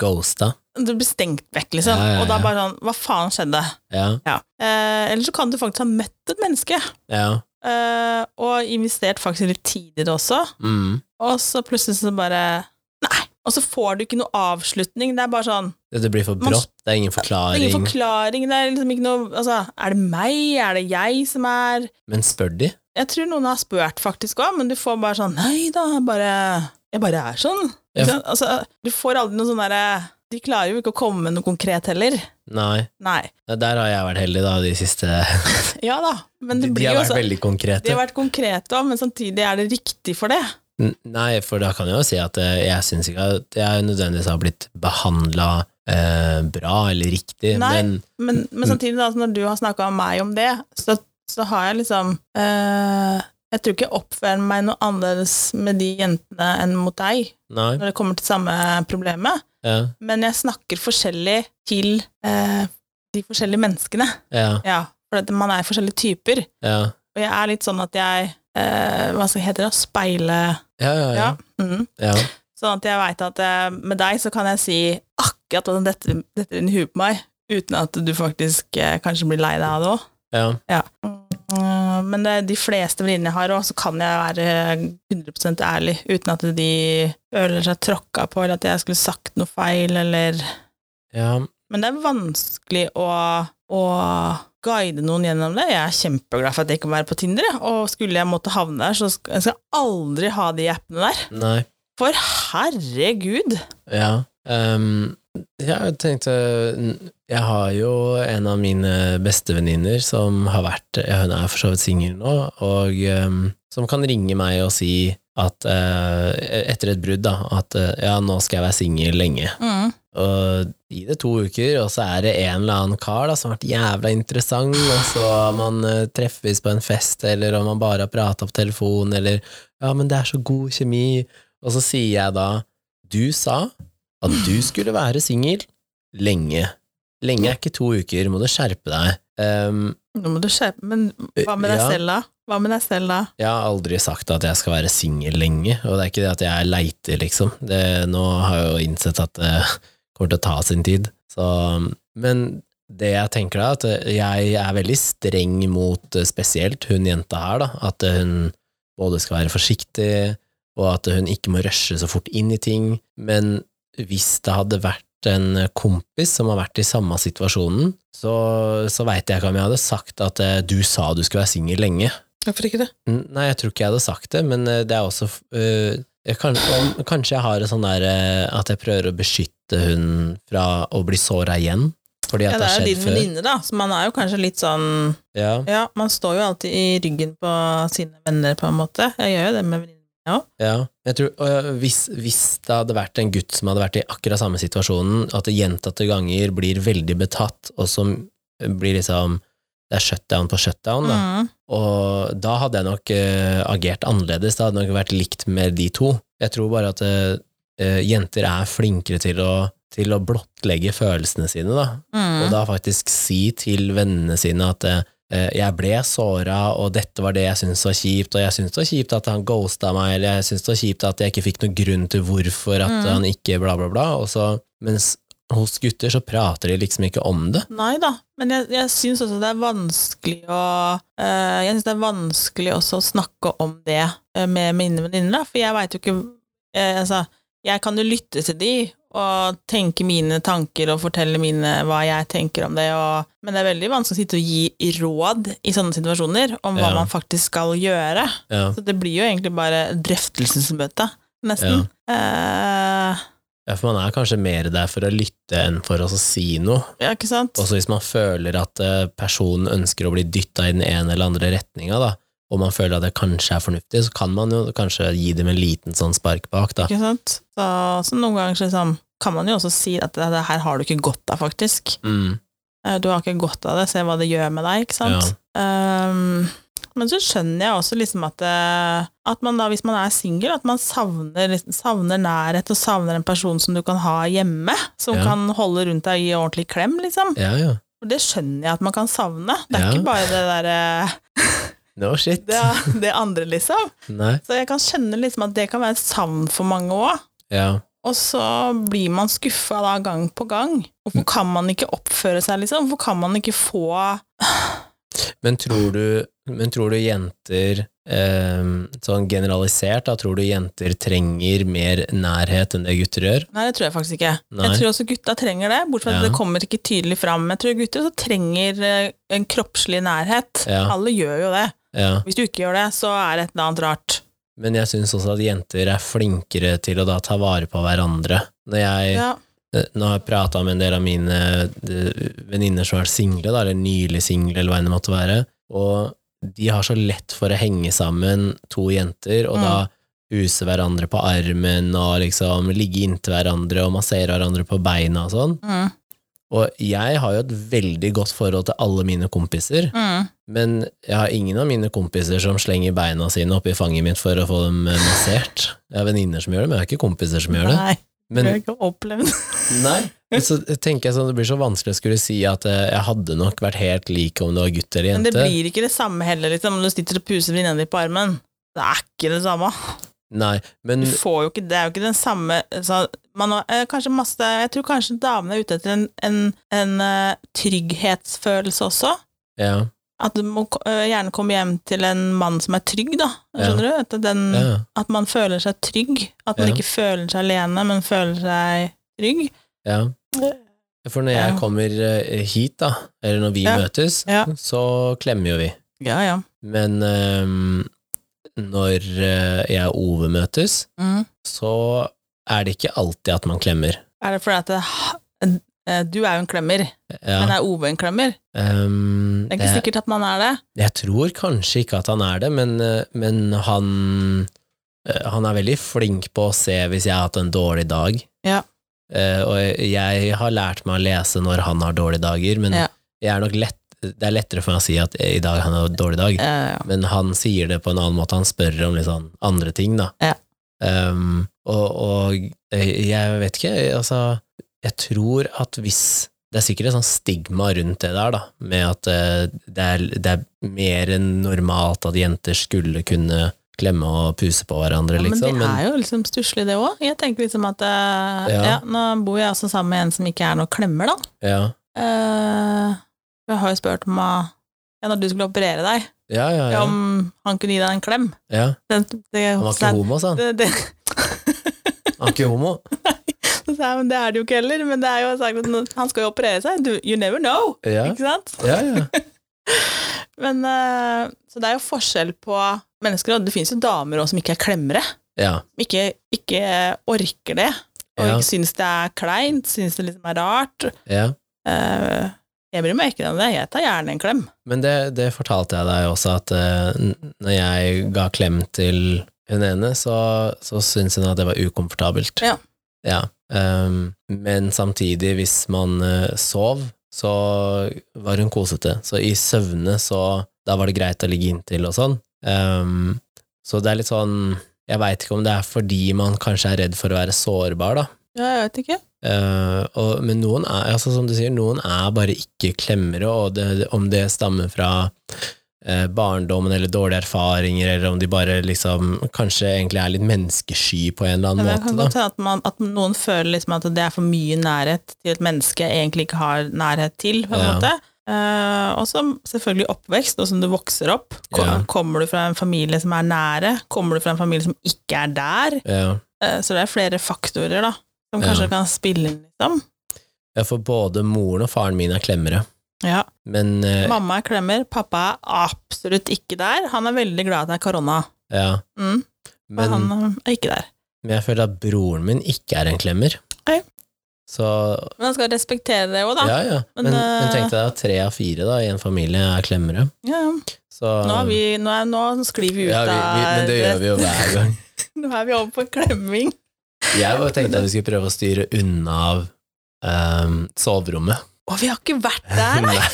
Ghosta. Du blir stengt vekk, liksom. Ja, ja, Og da ja. bare sånn Hva faen skjedde? Ja. Ja. Eh, eller så kan du faktisk ha møtt et menneske. Ja, eh, og investert faktisk litt tidligere også. Mm. Og så plutselig så bare Nei! Og så får du ikke noe avslutning. Det er bare sånn Dette blir for Man- brått, det er ingen det er forklaring. Ingen forklaring. Det er liksom ikke noe Altså, er det meg? Er det jeg som er Men spør de? Jeg tror noen har spurt faktisk òg, men du får bare sånn Nei da, jeg bare Jeg bare er sånn. Ja. Ikke sant? Altså, du får aldri noe sånn derre De klarer jo ikke å komme med noe konkret heller. Nei. Nei. Ja, Der har jeg vært heldig, da, de siste Ja da, men De, det de blir har jo vært så veldig konkrete. De har vært konkrete òg, men samtidig er det riktig for det. N- Nei, for da kan jeg jo si at eh, jeg syns ikke at jeg nødvendigvis har blitt behandla eh, bra eller riktig, Nei. men Men, men Mm. samtidig, da, når du har snakka med meg om det, så, så har jeg liksom eh, Jeg tror ikke jeg oppfører meg noe annerledes med de jentene enn mot deg Nei. når det kommer til samme problemet, Ja. men jeg snakker forskjellig til eh, de forskjellige menneskene. Ja. Ja, for at man er forskjellige typer. Ja. Og jeg er litt sånn at jeg eh, Hva skal heter det? Speile Ja, ja, ja. Ja. mhm. ja. Sånn at jeg veit at eh, med deg så kan jeg si akkurat hva som detter detter inn i huet på meg, uten at du faktisk eh, kanskje blir lei deg av det òg. ja. Ja. Mm, Men det, de fleste venninnene jeg har òg, så kan jeg være 100 ærlig, uten at de føler seg tråkka på, eller at jeg skulle sagt noe feil, eller ja. Men det er vanskelig å, å guide noen gjennom det. Jeg er kjempeglad for at jeg ikke må være på Tinder, jeg. og skulle jeg måtte havne der, så skal jeg skal aldri ha de appene der. Nei. For herregud! Ja. Ehm, jeg tenkte Jeg har jo en av mine bestevenninner som har vært ja, Hun er for så vidt singel nå, og ehm, som kan ringe meg og si at eh, etter et brudd, da, at eh, ja, nå skal jeg være singel lenge. Mm. Og gi det to uker, og så er det en eller annen kar da, som har vært jævla interessant, og så har man eh, treffes på en fest, eller om man bare har prata på telefon, eller Ja, men det er så god kjemi. Og så sier jeg da Du sa at du skulle være singel lenge. Lenge er ikke to uker, må du skjerpe deg. Ehm, Nå må du skjerpe Men hva med deg Ja. selv, da? Hva med deg selv, da? jeg har aldri sagt at jeg skal være singel lenge, og det er ikke det at jeg leiter, liksom. Det, nå har jeg jo innsett at det kommer til å ta sin tid. Så, men det jeg tenker da, at jeg er veldig streng mot eh, spesielt hun jenta her, da. At hun både skal være forsiktig, og at hun ikke må rushe så fort inn i ting. Men hvis det hadde vært en kompis som har vært i samme situasjonen, så, så veit jeg ikke om jeg hadde sagt at eh, du sa du skulle være singel lenge. Hvorfor ikke det? N- Nei, jeg tror ikke jeg hadde sagt det, men eh, det er også f- eh, jeg kan, om, Kanskje jeg har et sånn der eh, at jeg prøver å beskytte hun fra å bli såra igjen, fordi Ja, at det er det jo har skjedd din før. venninne, da, så man er jo kanskje litt sånn Ja, Ja, man står jo alltid i ryggen på sine venner, på en måte. Jeg gjør jo det med venninnene. ja. Jeg tror, og ja, hvis, hvis det hadde vært en gutt som hadde vært i akkurat samme situasjonen, at det gjentatte ganger blir veldig betatt, og som blir liksom Det er shutdown på shutdown, da. Mm. Og da hadde jeg nok eh, agert annerledes. Det hadde nok vært likt med de to. Jeg tror bare at eh, jenter er flinkere til å, til å blottlegge følelsene sine, da. Mm. Og da faktisk si til vennene sine at eh, jeg ble såra, og dette var det jeg syntes var kjipt, og jeg syntes det var kjipt at han ghosta meg, eller jeg syntes det var kjipt at jeg ikke fikk noen grunn til hvorfor at Mm. han ikke bla, bla, bla. Og så, mens hos gutter så prater de liksom ikke om det. Nei da, men jeg, jeg syns også det er vanskelig å eh, Jeg synes det er vanskelig også å snakke om det eh, med mine venninner, da, for jeg veit jo ikke eh, Altså, jeg kan jo lytte til de og tenke mine tanker og fortelle mine hva jeg tenker om det, og, men det er veldig vanskelig å sitte og gi råd i sånne situasjoner om Ja. hva man faktisk skal gjøre. Ja. Så det blir jo egentlig bare drøftelsesmøte, nesten. Eh, Ja, for man er kanskje mer der for å lytte enn for å si noe. ja, ikke sant? Også hvis man føler at eh, personen ønsker å bli dytta i den ene eller andre retninga, da, og man føler at det kanskje er fornuftig, så kan man jo kanskje gi dem en liten sånn spark bak, da. Ikke sant? Så, så noen ganger så liksom, kan man jo også si at det, det her har du ikke godt av, faktisk. Mm, Eh, Du har ikke godt av det, se hva det gjør med deg, ikke sant? Ehm, men så skjønner jeg også liksom at, eh, at man da, hvis man er singel, at man savner, savner nærhet og savner en person som du kan ha hjemme, som Ja. kan holde rundt deg og gi ordentlig klem, liksom. ja, ja. Og det skjønner jeg at man kan savne. Det er Ja. ikke bare det derre No shit. det, det andre, liksom. Nei. Så jeg kan skjønne liksom at det kan være et savn for mange òg. Ja. Og så blir man skuffa da gang på gang. Hvorfor kan man ikke oppføre seg, liksom? Hvorfor kan man ikke få Men tror du, men tror du jenter eh, Sånn generalisert, da, tror du jenter trenger mer nærhet enn det gutter gjør? Nei, det tror jeg faktisk ikke. Nei. Jeg tror også gutta trenger det, bortsett fra at Ja. det kommer ikke tydelig fram. Jeg tror gutter også trenger eh, en kroppslig nærhet. Ja. Alle gjør jo det. Ja. Hvis du ikke gjør det, så er det et eller annet rart. Men jeg syns også at jenter er flinkere til å da ta vare på hverandre. Når jeg, Ja. eh, Nå har jeg prata med en del av mine eh, venninner som har vært single, da, eller nylig single, eller hva enn det måtte være, og de har så lett for å henge sammen, to jenter, og Mm. da huse hverandre på armen og liksom ligge inntil hverandre og massere hverandre på beina og sånn. Mm. Og jeg har jo et veldig godt forhold til alle mine kompiser, Mm. men jeg har ingen av mine kompiser som slenger beina sine oppi fanget mitt for å få dem eh, massert. Jeg har venninner som gjør det, men jeg har ikke kompiser som gjør det. Nei, det Men har jeg ikke opplevd. nei, men så tenker jeg sånn, det blir så vanskelig å skulle si at eh, jeg hadde nok vært helt lik om det var gutt eller Men det jente. blir ikke det samme heller, liksom, når du sitter og puser venninna di på armen. Det er ikke det samme. Nei, men Du får jo ikke, det er jo ikke den samme altså, man, har- eh, kanskje masse, Jeg tror kanskje damene er ute etter en, en, en eh, trygghetsfølelse også. ja, At du må ko- eh, gjerne komme hjem til en mann som er trygg, da. Skjønner du? At, den, ja, at man føler seg trygg. At man Ja. ikke føler seg alene, men føler seg trygg. ja. For når jeg Ja. kommer eh, hit, da, eller når vi Ja. møtes, Ja. så klemmer jo vi. Ja, ja. Men ehm, når eh, jeg og Ove møtes, Mm. så er det ikke alltid at man klemmer. Er det fordi at det, eh, du er jo en klemmer, men Ja, er Ove en klemmer? ehm, Det er ikke det- sikkert at man er det. jeg tror kanskje ikke at han er det, men, eh, men han, eh, han er veldig flink på å se hvis jeg har hatt en dårlig dag. Ja. Eh, og jeg- jeg har lært meg å lese når han har dårlige dager, men Ja. jeg er nok lett, det er lettere for meg å si at eh, i dag han har en dårlig dag. Eh, Men han sier det på en annen måte. Han spør om litt sånn andre ting, da. Ja. Ehm, og, og eh, jeg vet ikke, altså Jeg tror at hvis Det er sikkert et sånt stigma rundt det der, da, med at eh, det er, det er mer enn normalt at jenter skulle kunne klemme og puse på hverandre, Ja, liksom. Men det Men, er jo liksom stusslig, det òg. Jeg tenker liksom at eh, Ja. ja. Nå bor jeg også sammen med en som ikke er noe klemmer, da. ja, Eh, jeg har jo spurt om eh, ja, når du skulle operere deg, ja, ja, ja, om han kunne gi deg en klem. ja. Den, det, Han var ikke homo, sa han. det, det, Han var ikke homo. så sa jeg, men det er det jo ikke heller, men det er jo sagt at nå- han skal jo operere seg. Du, you never know! Ja, Ikke sant? ja, ja. Men, eh, så det er jo forskjell på mennesker, og det finnes jo damer også som ikke er klemmere. ja. Som ikke, ikke orker det, og Ja. ikke syns det er kleint, syns det liksom er rart. ja. Eh, jeg bryr meg ikke om det, jeg tar gjerne en klem. Men det, det fortalte jeg deg også, at eh, n- når jeg ga klem til hun ene, så, så syntes hun at det var ukomfortabelt. Ja. Ja, ehm, men samtidig, hvis man eh, sov, så var hun kosete. Så i søvne, så da var det greit å ligge inntil og sånn. Ehm, så det er litt sånn Jeg veit ikke om det er fordi man kanskje er redd for å være sårbar, da. Ja, jeg vet ikke. Eh, og, men noen er, altså, som du sier, noen er bare ikke klemmere, og det, om det stammer fra eh, barndommen eller dårlige erfaringer, eller om de bare liksom kanskje egentlig er litt menneskesky på en eller Men annen det kan måte, godt hende at, man- at noen føler liksom at det er for mye nærhet til et menneske jeg egentlig ikke har nærhet til, på en Ja. måte. Eh, og så selvfølgelig oppvekst, og som du vokser opp. Ko- Ja. Kommer du fra en familie som er nære? Kommer du fra en familie som ikke er der? da. Ja. Eh, så det er flere faktorer, da, som Ja. kanskje kan spille inn, liksom. ja, for både moren og faren min er klemmere, Ja. men eh, Mamma er klemmer, pappa er absolutt ikke der. Han er veldig glad at det er korona, ja, mm, men men, han er ikke der. men jeg føler at broren min ikke er en klemmer. Nei. Så Men han skal respektere det òg, da. ja, ja. Men, Men, men, eh, tenk deg at tre av fire da, i en familie er klemmere. Ja, ja. Så, Nå, er vi, nå, er, nå sklir vi ut ja, vi, vi, men det gjør vi jo hver gang. Nå er vi over på klemming. Jeg bare tenkte at vi skulle prøve å styre unna av ehm, soverommet. Å, vi har ikke vært der, nei! Nei,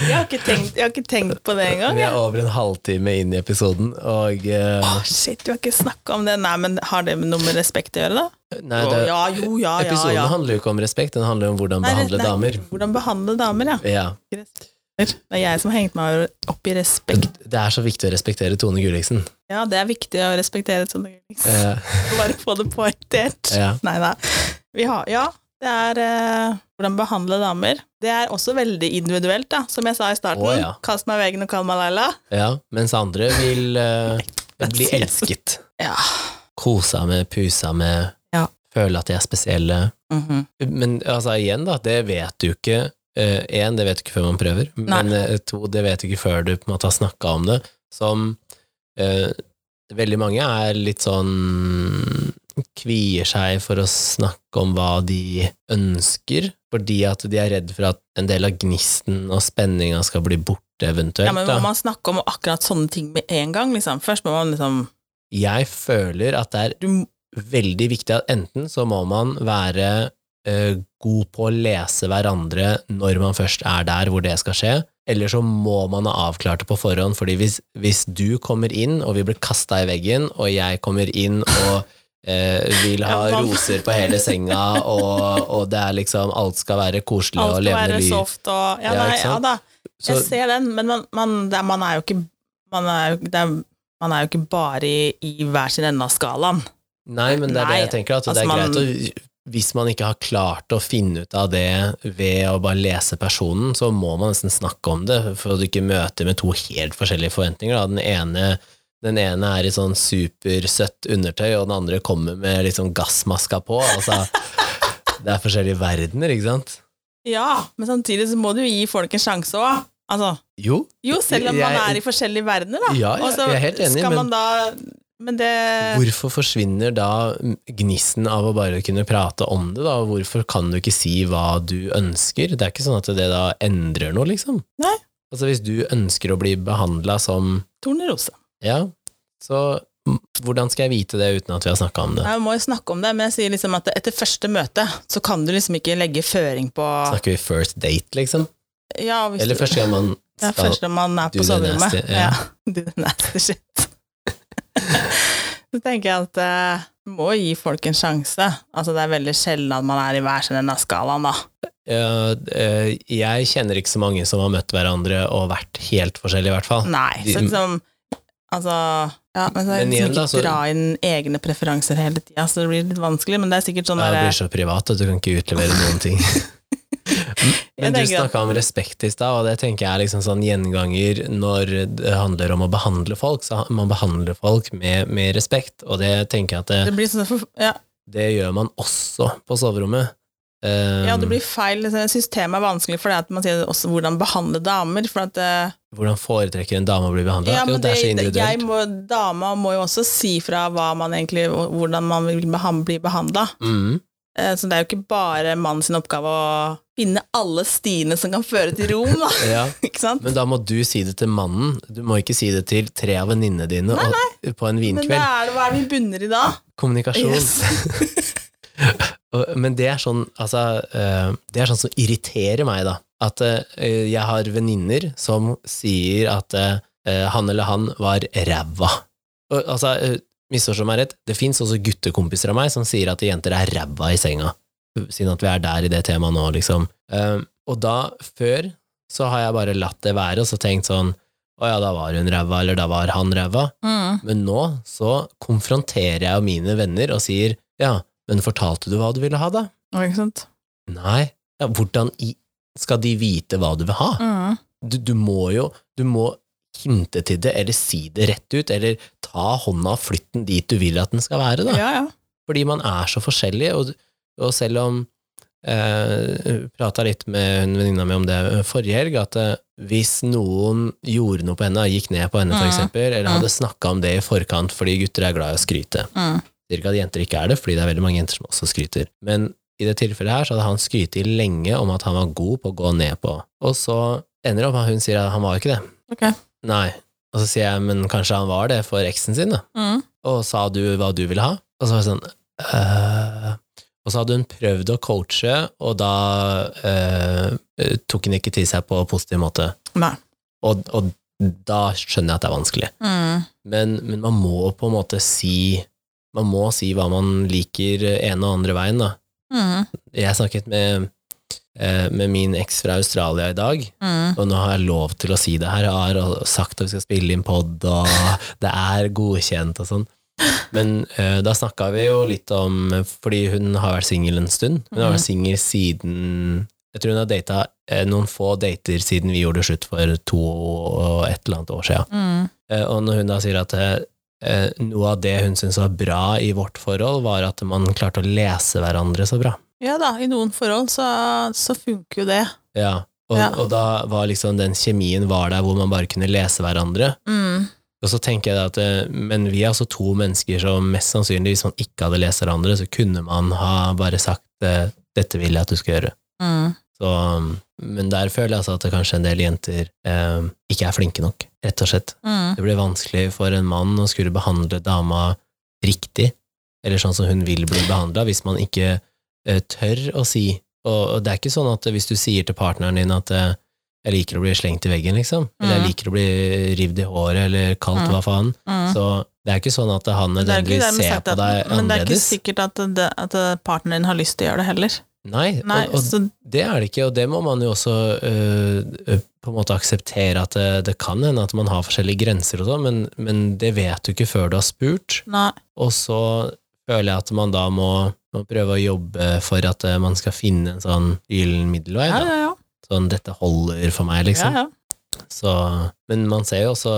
Jeg har ikke tenkt, jeg har ikke tenkt på det engang. Vi jeg. er over en halvtime inn i episoden, og eh, Å, shit, vi har ikke snakka om det. Nei, men har det noe med respekt å gjøre, da? nei, Å, det, ja, jo, ja, ja, Episoden ja. handler jo ikke om respekt, den handler om hvordan Nei, behandle nei, damer. Hvordan behandle damer, ja. Ja. Ikke respekt. Det er jeg som har hengt meg opp i respekt. Det er så viktig å respektere Tone Gulliksen. Ja, det er viktig å respektere sånne Eh, Bare få det poengtert. Ja. Nei da. Vi har, ja, Det er eh, hvordan behandle damer. Det er også veldig individuelt, da. Som jeg sa i starten. Å, ja. Kast meg i veggen og kall meg Laila. Ja, mens andre vil eh, det bli sier- elsket. Ja. Kosa med, pusa med, Ja. føle at de er spesielle. Mhm. Men altså, igjen, da, det vet du ikke. Én, det vet du ikke før man prøver. Men eh, to, det vet du ikke før du på en måte har snakka om det. Som eh, veldig mange er litt sånn Kvier seg for å snakke om hva de ønsker, fordi at de er redd for at en del av gnisten og spenninga skal bli borte, eventuelt. ja, men da. må man snakke om akkurat sånne ting med en gang, liksom? Først må man liksom jeg føler at det er veldig viktig at enten så må man være eh, god på å lese hverandre når man først er der hvor det skal skje, eller så må man ha avklart det på forhånd, fordi hvis, hvis du kommer inn, og vi blir kasta i veggen, og jeg kommer inn og eh, vil ha Ja, man- roser på hele senga, og, og det er liksom alt skal være koselig Alt og skal levende være liv. soft og Ja, Ja, nei, ikke ja sant? da. Så, jeg ser den, men man, man, det, er- man er jo ikke Man er jo, det er, man er jo ikke bare i, i hver sin ende av skalaen. Nei, men det er Nei, det jeg tenker. At det altså, er man- greit å, hvis man ikke har klart å finne ut av det ved å bare lese personen, så må man nesten snakke om det, for at du ikke møter med to helt forskjellige forventninger. Da. Den, ene, den ene er i sånn supersøtt undertøy, og den andre kommer med liksom gassmaska på. Altså, det er forskjellige verdener, ikke sant? Ja, men samtidig så må du jo gi folk en sjanse òg. Altså, Jo, jo, selv om man Jeg- er i forskjellige verdener, da. Ja, ja, Og så jeg er helt enig, Altså, skal men- man da Men det Hvorfor forsvinner da gnisten av å bare kunne prate om det, da? Hvorfor kan du ikke si hva du ønsker? Det er ikke sånn at det da endrer noe, liksom. Nei. Altså, hvis du ønsker å bli behandla som Tornerose. Ja, så m- hvordan skal jeg vite det uten at vi har snakka om det? Nei, Vi må jo snakke om det, men jeg sier liksom at etter første møte så kan du liksom ikke legge føring på Snakker vi first date, liksom? ja, hvis Eller du- første gang man Ja, skal først når man er do på the soverommet. nasty, ja. Ja. do the nasty shit. Så tenker jeg at eh, må gi folk en sjanse. Altså Det er veldig sjelden at man er i hver sin ende av skalaen, da. Ja, eh, Jeg kjenner ikke så mange som har møtt hverandre og vært helt forskjellige, i hvert fall. Nei. De- Så liksom Altså ja, Men så er Men det liksom igjen ikke da, så- dra inn egne preferanser hele tida, så det blir litt vanskelig, men det er sikkert sånn Ja, det derre blir så privat at du kan ikke utlevere noen ting. Men du Jeg tenker at- snakka om respekt i stad, og det tenker jeg er liksom sånn gjenganger når det handler om å behandle folk. Så man behandler folk med, med respekt, og det tenker jeg at Det det, blir sånn for, ja, det gjør man også på soverommet. Um, ja, det blir feil. liksom. Jeg syns temaet er vanskelig, for det at man sier også hvordan behandle damer. For at eh, Hvordan foretrekker en dame å bli behandla? Ja, jo, men det er så det- jeg individuelt. må, dama må jo også si fra hva man egentlig, hvordan man vil behan- bli behandla. Mm. Så det er jo ikke bare mannens oppgave å finne alle stiene som kan føre til Rom, da. Ja. ikke sant? Men da må du si det til mannen, du må ikke si det til tre av venninnene dine og- på en Men vinkveld. da er det, hva er det vi bunner i da? Kommunikasjon. Og- Men det er sånn, altså, eh, det er sånn som irriterer meg, da. At eh, jeg har venninner som sier at eh, han eller han var ræva. Og, Altså, eh, misforstå meg rett, det fins også guttekompiser av meg som sier at jenter er ræva i senga. Siden at vi er der i det temaet nå, liksom. Eh, Og da, før, så har jeg bare latt det være, og så tenkt sånn å ja, da var hun ræva, eller da var han ræva. Mm. Men nå så konfronterer jeg jo mine venner og sier ja, men fortalte du hva du ville ha da? Ja, ikke sant? Nei, ja, hvordan i skal de vite hva du vil ha? Mm. Du, du må jo, du må hinte til det, eller si det rett ut, eller ta hånda og flytt den dit du vil at den skal være da. Ja, ja. Fordi man er så forskjellig, og, og selv om eh, Prata litt med en venninna mi om det forrige helg, at eh, hvis noen gjorde noe på henne, gikk ned på henne Mm. for eksempel, eller Mm. hadde snakka om det i forkant fordi gutter er glad i å skryte Sier ikke at jenter ikke er det, fordi det er veldig mange jenter som også skryter. Men i det tilfellet her så hadde han skrytet lenge om at han var god på å gå ned på, og så ender det opp med at hun sier at han var ikke det. Ok. Nei. Og så sier jeg, men kanskje han var det for eksen sin, da Mm. og sa du hva du ville ha? Og så var jeg sånn «Øh». Og så hadde hun prøvd å coache, og da øh, øh, tok hun ikke til seg på en positiv måte. Nei. Og, og da skjønner jeg at det er vanskelig. Mm. Men, men man må på en måte si Man må si hva man liker ene og andre veien, da. Mm. Jeg snakket med, eh, med min eks fra Australia i dag, Mm. og nå har jeg lov til å si det her. Jeg har sagt at vi skal spille inn pod, og det er godkjent og sånn. Men eh, da snakka vi jo litt om Fordi hun har vært singel en stund. Hun har vært singel siden Jeg tror hun har data eh, noen få dater siden vi gjorde slutt for to og et eller annet år siden. Mm. Eh, Og når hun da sier at eh, eh, noe av det hun syntes var bra i vårt forhold, var at man klarte å lese hverandre så bra. Ja da, i noen forhold så, så funker jo det. Ja. Og, Ja. og da var liksom den kjemien var der hvor man bare kunne lese hverandre. Mm. Og så tenker jeg da at eh, Men vi er altså to mennesker som mest sannsynlig, hvis man ikke hadde lest hverandre, så kunne man ha bare sagt eh, 'dette vil jeg at du skal gjøre'. Mm. Så, um, men der føler jeg altså at det kanskje en del jenter eh, ikke er flinke nok, rett og slett. Mm. Det blir vanskelig for en mann å skulle behandle dama riktig, eller sånn som hun vil bli behandla, hvis man ikke eh, tør å si. Og, og det er ikke sånn at hvis du sier til partneren din at eh, jeg liker å bli slengt i veggen, liksom, eller jeg Mm. liker å bli rivd i håret, eller kalt Mm. hva faen, Mm. så det er ikke sånn at han Det er ikke nødvendigvis dermed ser sagt på at- deg Men det er ikke annerledes. sikkert at, det, at partneren din har lyst til å gjøre det heller. Nei, Nei, og, og så, Det er det ikke, og det må man jo også øh, øh, på en måte akseptere at øh, det, det kan hende at man har forskjellige grenser og sånn, men, men det vet du ikke før du har spurt. nei. Og så føler jeg at man da må, må prøve å jobbe for at øh, man skal finne en sånn gyllen middelvei. Ja, Da. ja, ja. Sånn 'dette holder for meg', liksom. ja, ja. Så, men man ser jo også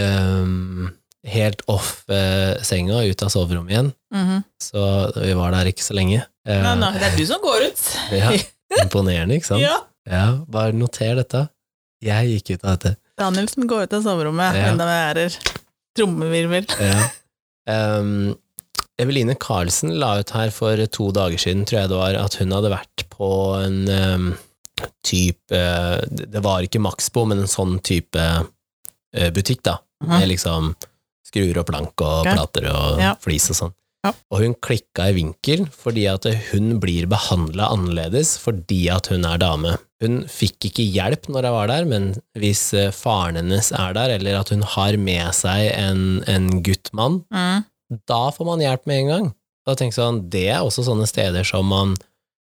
øhm, helt off øh, senga, ut av soverommet igjen. Mhm. Så vi var der ikke så lenge. Eh, Nei, nei, det er du som går ut. ja, imponerende, ikke sant? Ja. Ja, bare noter dette. Jeg gikk ut av dette. Danielsen går ut av soverommet, Ja. enda med ærer. Trommevirvel. Ja. Um, Eveline Karlsen la ut her for to dager siden, tror jeg det var, at hun hadde vært på en um, type Det det var ikke Maxbo, men en sånn type eh, butikk, da. Med liksom skruer og plank og Ja. plater og Mhm. Ja. flis og sånn. Ja. Og hun klikka i vinkel fordi at hun blir behandla annerledes fordi at hun er dame. Hun fikk ikke hjelp når jeg var der, men hvis eh, faren hennes er der, eller at hun har med seg en, en guttmann, Mm. da får man hjelp med en gang. Da tenker jeg sånn, Det er også sånne steder som man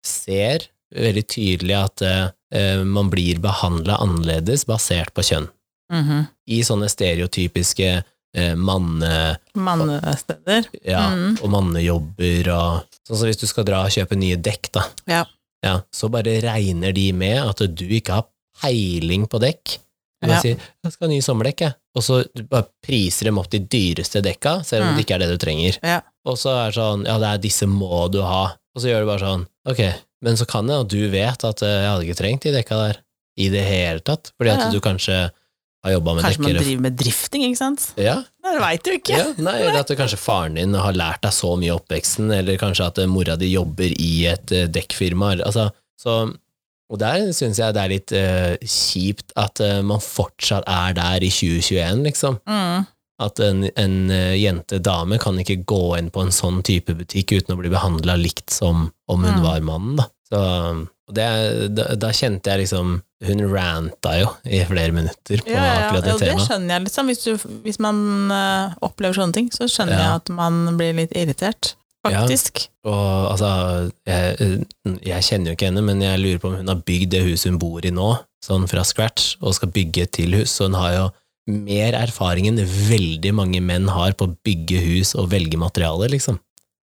ser veldig tydelig at eh, eh, man blir behandla annerledes basert på kjønn Mhm. i sånne stereotypiske eh, manne... Mannesteder. Ja, Mm. og mannejobber og Sånn som hvis du skal dra og kjøpe nye dekk, da. Ja. Ja, så bare regner de med at du ikke har peiling på dekk. Du bare Ja. sier 'jeg skal ha ny sommerdekk', jeg. Og så du bare priser dem opp de dyreste dekka, selv om Mm. det ikke er det du trenger. Ja. Og så er det sånn 'ja, det er disse må du ha'. Og så gjør du bare sånn 'ok, men så kan det at du vet at eh, jeg hadde ikke trengt de dekka der i det hele tatt', fordi at Ja, ja. du kanskje har jobba med Kanskje man dekker. driver med drifting, ikke sant? Ja, Det veit du ikke. ja, nei, eller at kanskje faren din har lært deg så mye i oppveksten, eller kanskje at eh, mora di jobber i et eh, dekkfirma. eller- Altså, så, og der syns jeg det er litt eh, kjipt at eh, man fortsatt er der i 2021, liksom. Mm. At en, en eh, jente, dame, kan ikke gå inn på en sånn type butikk uten å bli behandla likt som om hun Mm. var mannen, da. Så, og det, da, da kjente jeg liksom Hun ranta jo i flere minutter på Ja, ja, ja. akkurat det Og det temaet. skjønner jeg. Liksom. Hvis, du, hvis man eh, opplever sånne ting, så skjønner Ja. jeg at man blir litt irritert. Ja. Faktisk. Og altså, jeg, jeg kjenner jo ikke henne, men jeg lurer på om hun har bygd det huset hun bor i nå, sånn fra scratch, og skal bygge et til hus, så hun har jo mer erfaring enn veldig mange menn har på å bygge hus og velge materialer, liksom.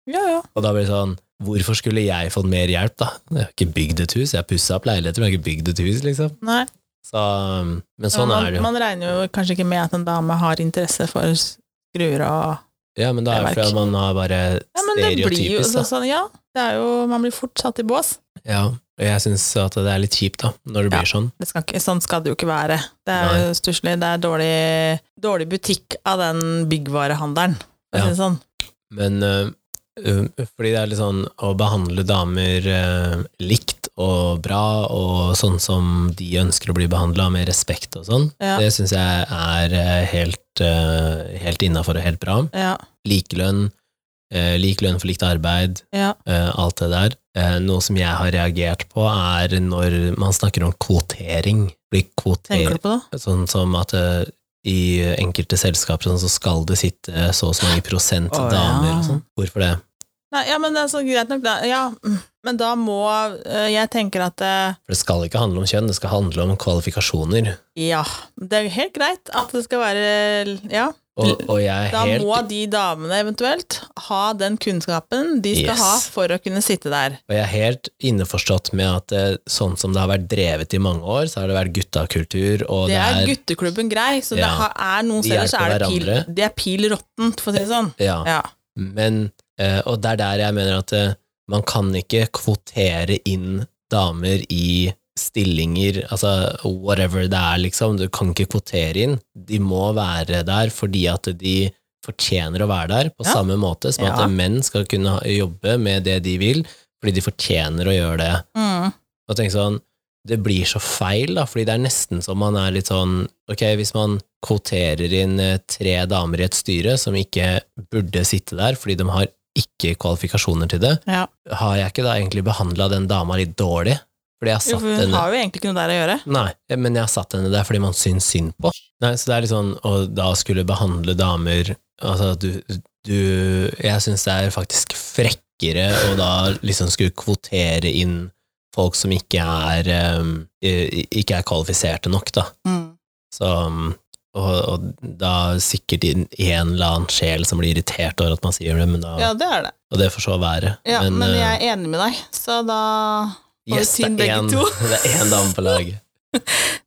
Ja, ja. Og da blir det sånn, hvorfor skulle jeg fått mer hjelp, da? Jeg har ikke bygd et hus, jeg har pussa opp leiligheter, men jeg har ikke bygd et hus, liksom. Nei. Så, men sånn man, er det jo. Man regner jo kanskje ikke med at en dame har interesse for skruer og Ja, men da er det det er fordi man har bare Ja, men det blir jo stereotypisk, da. sånn, sånn Ja, det er jo, man blir fort satt i bås. Ja, og jeg syns at det er litt kjipt, da, når det Ja. blir sånn. Det skal ikke, sånn skal det jo ikke være. Det er Nei. jo stusslig. Det er dårlig, dårlig butikk av den byggvarehandelen. for å Ja. si det Sånn. Men øh, øh, fordi det er litt sånn å behandle damer øh, likt og bra, og sånn som de ønsker å bli behandla, med respekt og sånn, Ja, det syns jeg er øh, helt, øh, helt innafor og helt bra. ja, Likelønn, øh, lik lønn for likt arbeid, ja. øh, alt det der. Eh, Noe som jeg har reagert på, er når man snakker om kvotering. Blir kvoter, Tenker du på det? sånn som at øh, i enkelte selskaper sånn, så skal det sitte så og så mange prosent Å, ja. damer og sånn. Hvorfor det? Nei, ja, men det er så greit nok, da. Ja, mm. men da må eh, Jeg tenker at eh, For det skal ikke handle om kjønn, det skal handle om kvalifikasjoner. Ja, det er helt greit at det skal være Ja, Og, og jeg er Da helt må de damene eventuelt ha den kunnskapen de skal Yes. ha for å kunne sitte der. Og jeg er helt innforstått med at eh, sånn som det har vært drevet i mange år, så har det vært guttakultur, og det, Det er gutteklubben grei, så det Ja. har- er noen De steder så er hjelper det pil, hverandre. det er pil råttent, for å si det sånn. ja. Ja. Men, eh, og det er der jeg mener at eh, man kan ikke kvotere inn damer i stillinger, altså whatever det er, liksom. Du kan ikke kvotere inn. De må være der fordi at de fortjener å være der, på Ja. samme måte som at Ja. menn skal kunne ha- jobbe med det de vil, fordi de fortjener å gjøre det. Mm. og tenke sånn Det blir så feil, da, fordi det er nesten som man er litt sånn Ok, hvis man kvoterer inn eh, tre damer i et styre som ikke burde sitte der fordi de har ikke kvalifikasjoner til det, Ja. har jeg ikke da egentlig behandla den dama litt dårlig? Fordi jeg har Jo, satt for hun henne har jo egentlig ikke noe der å gjøre. Nei, eh, men jeg har satt henne der fordi man syns synd på. Nei, så det er litt sånn å da skulle behandle damer Altså, du, du Jeg syns det er faktisk frekkere å da liksom skulle kvotere inn folk som ikke er em, i- Ikke er kvalifiserte nok, da. Mm. Så um, og, og da sikkert en eller annen sjel som blir irritert over at man sier det, men da, Ja, det er det. og det får så være. Ja, men, eh, jeg er enig med deg, så da var yes, synd det er begge en- to. det er én dame på laget.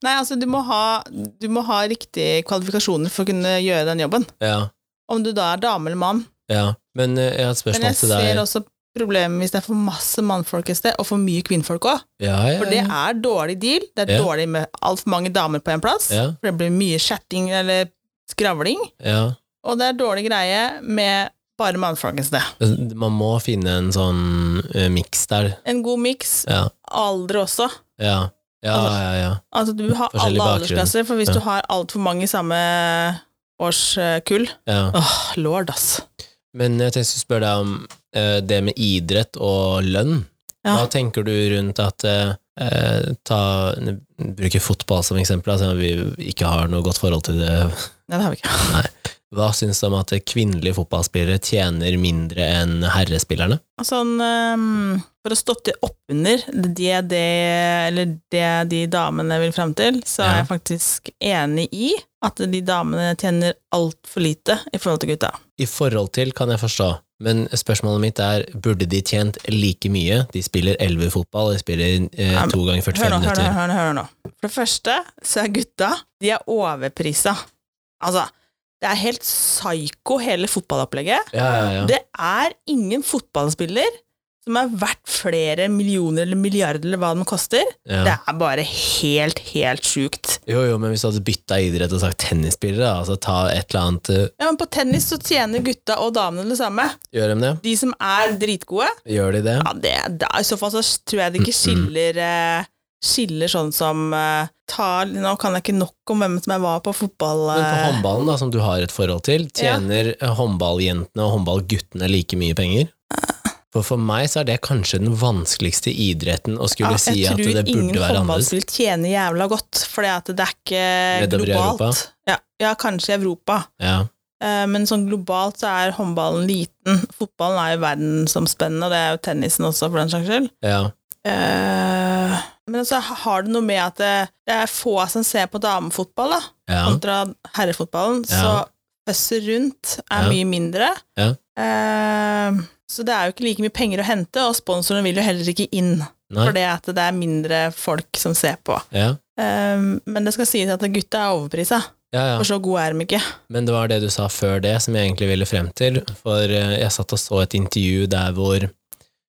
Nei, altså, du må ha, du må ha riktige kvalifikasjoner for å kunne gjøre den jobben. Ja, Om du da er dame eller mann. ja. Men eh, jeg har et Men spørsmål jeg til deg. ser også problemet hvis det er for masse mannfolk et sted, og for mye kvinnfolk òg. Ja, ja, For det ja. er dårlig deal. Det er Ja. dårlig med altfor mange damer på én plass. Ja, For det blir mye chatting eller skravling. ja. Og det er dårlig greie med bare mannfolk et sted. Man må finne en sånn uh, miks der. En god miks. Ja. Alder også. Ja, ja, Altså- ja. ja. Altså du har Forskjellig alle bakgrunn. aldersklasser, for hvis Ja. du har altfor mange i samme årskull ja. Åh, lord, ass. Men jeg tenkte jeg skulle spørre deg om eh, det med idrett og lønn. Ja. Hva tenker du rundt at eh, eh, ta, Bruker fotball som eksempel, altså vi ikke har noe godt forhold til det. Nei, det har vi ikke. Hva syns du om at kvinnelige fotballspillere tjener mindre enn herrespillerne? Sånn, ehm, for å støtte oppunder det, det, eller det de damene vil frem til, så er Ja. jeg faktisk enig i at de damene tjener altfor lite i forhold til gutta. I forhold til kan jeg forstå, men spørsmålet mitt er burde de tjent like mye? De spiller 11 fotball, de spiller eh, Ja, men to ganger Hør 45 nå, hør nå, minutter. hør nå, hør nå. For det første så er gutta, de er overprisa. Altså, det er helt psyko hele fotballopplegget. Ja, ja, ja. Det er ingen fotballspiller som er verdt flere millioner eller milliarder eller hva den koster. Ja. Det er bare helt, helt sjukt. Jo, jo, men hvis du hadde bytta idrett og sagt tennisspillere, da, altså ta et eller annet eh, Ja, men på tennis så tjener gutta og damene det samme. Gjør de det? De som er dritgode, Gjør de det? ja, det, det er, i så fall så tror jeg det Mm, ikke skiller eh, Skiller sånn som eh, tar, Nå kan jeg ikke nok om hvem som jeg var på fotball... Men på eh, håndballen, da, som du har et forhold til, tjener eh, håndballjentene og håndballguttene like mye penger? For for meg så er det kanskje den vanskeligste idretten å skulle si at det Jeg tror ingen burde være annerledes. håndballspill tjener jævla godt, for det er ikke Nedover i globalt. Europa? Ja, ja, kanskje i Europa, Ja, Eh, men sånn globalt så er håndballen liten. Fotballen er jo verdensomspennende, og det er jo tennisen også, for den saks skyld. ja, Eh, Men så har det noe med at det, det er få som ser på damefotball, da, ja. kontra herrefotballen. Ja. Så øsset rundt er Ja. mye mindre. Ja. Eh, så det er jo ikke like mye penger å hente, og sponsorene vil jo heller ikke inn. Nei, Fordi at det er mindre folk som ser på. ja. Ehm, men det skal sies at gutta er overprisa, Ja, ja. for så gode er de ikke. Men det var det du sa før det som jeg egentlig ville frem til, for eh, jeg satt og så et intervju der hvor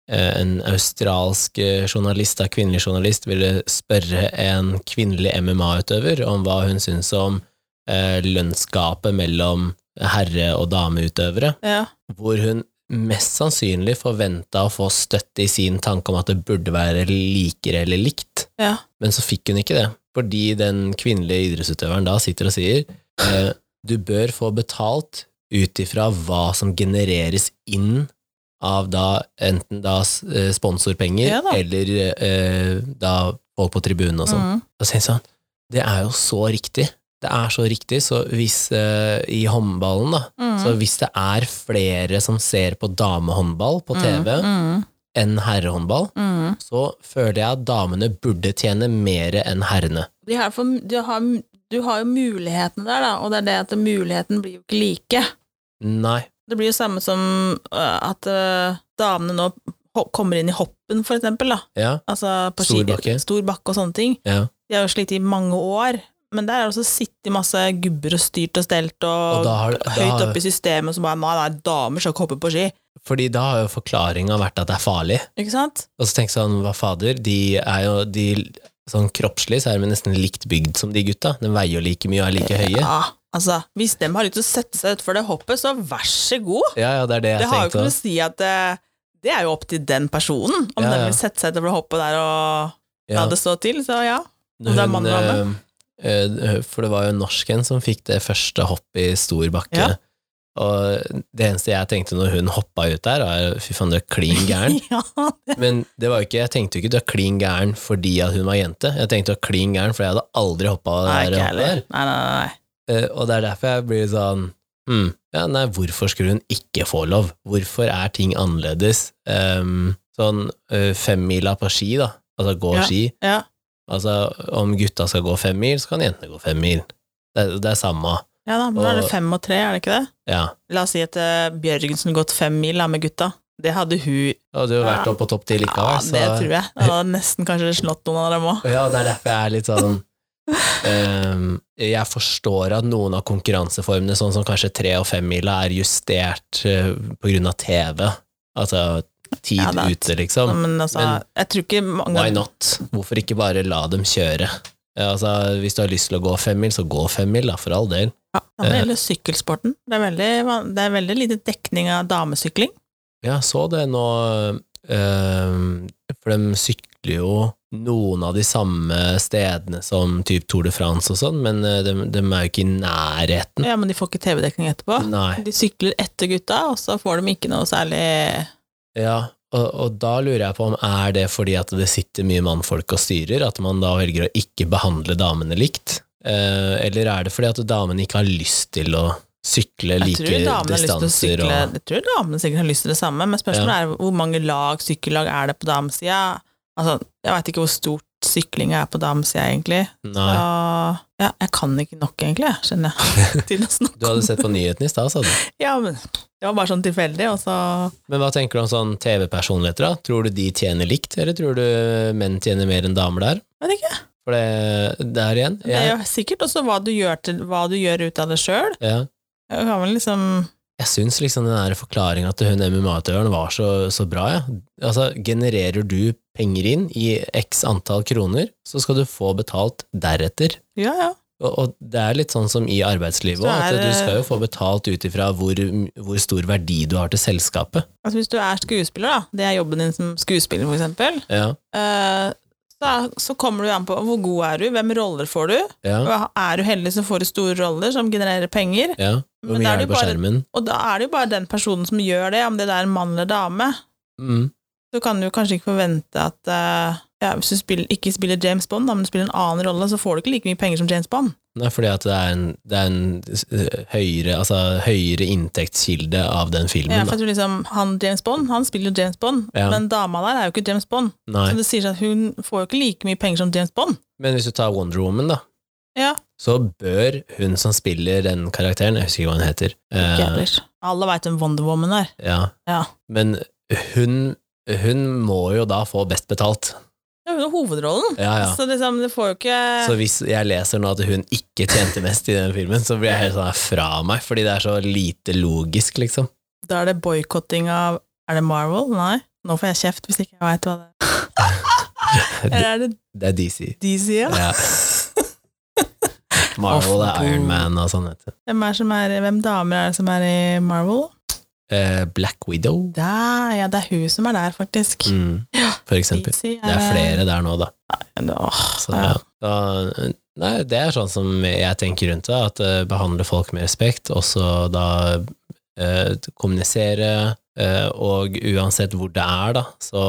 eh, en australsk eh, journalist, da, kvinnelig journalist, ville spørre en kvinnelig MMA-utøver om hva hun syntes om eh, lønnsgapet mellom herre- og dameutøvere, Ja. hvor hun mest sannsynlig forventa å få støtte i sin tanke om at det burde være likere eller likt. Ja. Men så fikk hun ikke det, fordi den kvinnelige idrettsutøveren da sitter og sier eh, du bør få betalt ut ifra hva som genereres inn av da enten da s- eh, sponsorpenger Ja da. eller eh, da folk på tribunen og sånn. Mm. Og så sier jeg sånn, det er jo så riktig. Det er så riktig, så hvis eh, i håndballen da, Mm. så hvis det er flere som ser på damehåndball på TV Mm. enn herrehåndball, Mm. så føler jeg at damene burde tjene mer enn herrene. De har for, de har, Du har jo mulighetene der, da, og det er det at muligheten blir jo ikke like. Nei. Det blir jo samme som øh, at øh, damene nå ho- kommer inn i hoppen, for eksempel. Da. Ja. Altså på Stor ski- bakke. Stor bakke og sånne ting. ja. De har jo slitt i mange år, men der er det også sittet masse gubber og styrt og stelt Og og, da har, høyt da, oppe i systemet som bare Nei, nei, damer skal ikke hoppe på ski. fordi da har jo forklaringa vært at det er farlig. Ikke sant? Og så tenk sånn, hva fader, de er jo de, Sånn kroppslig så er de nesten likt bygd som de gutta. De veier jo like mye og er like høye. Ja, altså, hvis de har lyst til å sette seg utfor det hoppet, så vær så god. Ja, ja, det er det jeg det har jo tenkte ikke noe å også. si at det, det er jo opp til den personen, om Ja, den ja. vil sette seg utfor det hoppet der og la Ja. det stå til. Så ja. om det er Hun, mann eller eh, eh, For det var jo norsken som fikk det første hoppet i stor bakke. Ja. Og det eneste jeg tenkte når hun hoppa ut der, er fy faen, du er klin gæren. ja. Men det var jo ikke, jeg tenkte jo ikke du er klin gæren fordi at hun var jente. Jeg tenkte du er klin gæren fordi jeg hadde aldri hoppa det Nei, der. ikke hoppet heller. der. Nei, nei, nei. nei. Eh, Og det er derfor jeg blir sånn hm, ja, Nei, hvorfor skulle hun ikke få lov? Hvorfor er ting annerledes? Um, sånn eh, femmila på ski, da. Altså gå Ja. ski. Ja. Altså, om gutta skal gå fem mil, så kan jentene gå fem mil. Det, er- det er samme. ja da, men da er Og- det fem og tre, er det ikke det? Ja. La oss si at eh, Bjørgensen gått fem mil da, med gutta. Det hadde hun Da hadde du vært Ja. opp på topp ti likevel, Ja, så det tror jeg. Han hadde nesten kanskje slått noen av dem òg. Og Ja, det er derfor jeg er litt sånn ehm, Jeg forstår at noen av konkurranseformene, sånn som kanskje tre- og femmila, er justert eh, på grunn av TV. Altså tid Ja, det er- ute, liksom. Men altså, Men- jeg tror ikke mange Why not? Hvorfor ikke bare la dem kjøre? Ja, altså, hvis du har lyst til å gå fem mil, så gå fem mil, da, for all del. ja, Det Eh. er veldig sykkelsporten. Det er veldig, van- det er veldig lite dekning av damesykling. Ja, så det nå ehm, For de sykler jo noen av de samme stedene som typ Tour de France og sånn, men eh, de, de er jo ikke i nærheten. Ja, Men de får ikke TV-dekning etterpå. Nei. De sykler etter gutta, og så får de ikke noe særlig Ja, og, og da lurer jeg på om er det fordi at det sitter mye mannfolk og styrer, at man da velger å ikke behandle damene likt? Eh, eller er det fordi at damene ikke har lyst til å sykle Jeg like tror damene har lyst til å distanser? sykle og, Jeg tror damene sikkert har lyst til det samme, men spørsmålet er hvor mange lag sykkellag er det på damesida? Altså, jeg veit ikke hvor stort sykling er på damesida, egentlig. nei. Og, ja, jeg kan ikke nok, egentlig, jeg, skjønner jeg. Til å Du snakke om hadde sett på nyhetene i stad, sa du. Ja, men det var bare sånn tilfeldig, og så Men hva tenker du om sånn TV-personligheter? da? Tror du de tjener likt, eller tror du menn tjener mer enn damer der? Vet ikke. For det der igjen Det er jeg, jo sikkert også hva du gjør, til, hva du gjør ut av det sjøl. ja. Jeg kan vel liksom jeg syns liksom den der forklaringa til hun MMA-utøveren var så, så bra. Ja. Altså, genererer du penger inn i x antall kroner, så skal du få betalt deretter. Ja, ja. Og, og det er litt sånn som i arbeidslivet Så òg, at er eh, det- du skal jo få betalt ut ifra hvor, hvor stor verdi du har til selskapet. Altså, hvis du er skuespiller, da, det er jobben din som skuespiller, for eksempel, Ja, eh, så, er- så kommer du an på hvor god er du, hvem roller får du? ja, Og Er du heldig, så får du store roller som genererer penger. ja. Hvor Men mye da er er det det på bare- skjermen? Og da er det jo bare den personen som gjør det, om det er en mann eller dame. Mm. Så kan du kanskje ikke forvente at eh, ja, Hvis du spiller, ikke spiller James Bond, da, men du spiller en annen rolle, så får du ikke like mye penger som James Bond. Nei, fordi at det er en, det er en eh, høyere, altså, høyere inntektskilde av den Ja, filmen. Da. for jeg tror liksom, han James Bond, han spiller jo James Bond, Ja. men dama der er jo ikke James Bond. Nei. Så det sier seg at hun får jo ikke like mye penger som James Bond. Men hvis du tar Wonder Woman, da, Ja. så bør hun som spiller den karakteren, jeg husker ikke hva hun heter Ikke eh, ellers. Alle veit hvem Wonder Woman er. ja. Ja. Men hun, hun må jo da få best betalt. Det er jo hovedrollen. Ja, ja. Så liksom, det får jo ikke Så hvis jeg leser nå at hun ikke tjente mest i den filmen, så blir jeg helt sånn fra meg, fordi det er så lite logisk, liksom. Da er det boikotting av Er det Marvel? Nei? Nå får jeg kjeft hvis ikke jeg veit hva det er. Eller er det Det er DC. DC, ja? Ja. Marvel er Iron Man og sånn, vet du. Hvem, er som er, hvem damer er det som er i Marvel? Eh, Black Widow. Der, ja, det er hun som er der, faktisk. Mm. For eksempel. DC Det er flere der nå, da. Åh, Så, sånn, ja. ja. da nei, det er sånn som jeg tenker rundt det, at eh, behandle folk med respekt, også da eh, kommunisere, eh, og uansett hvor det er, da, så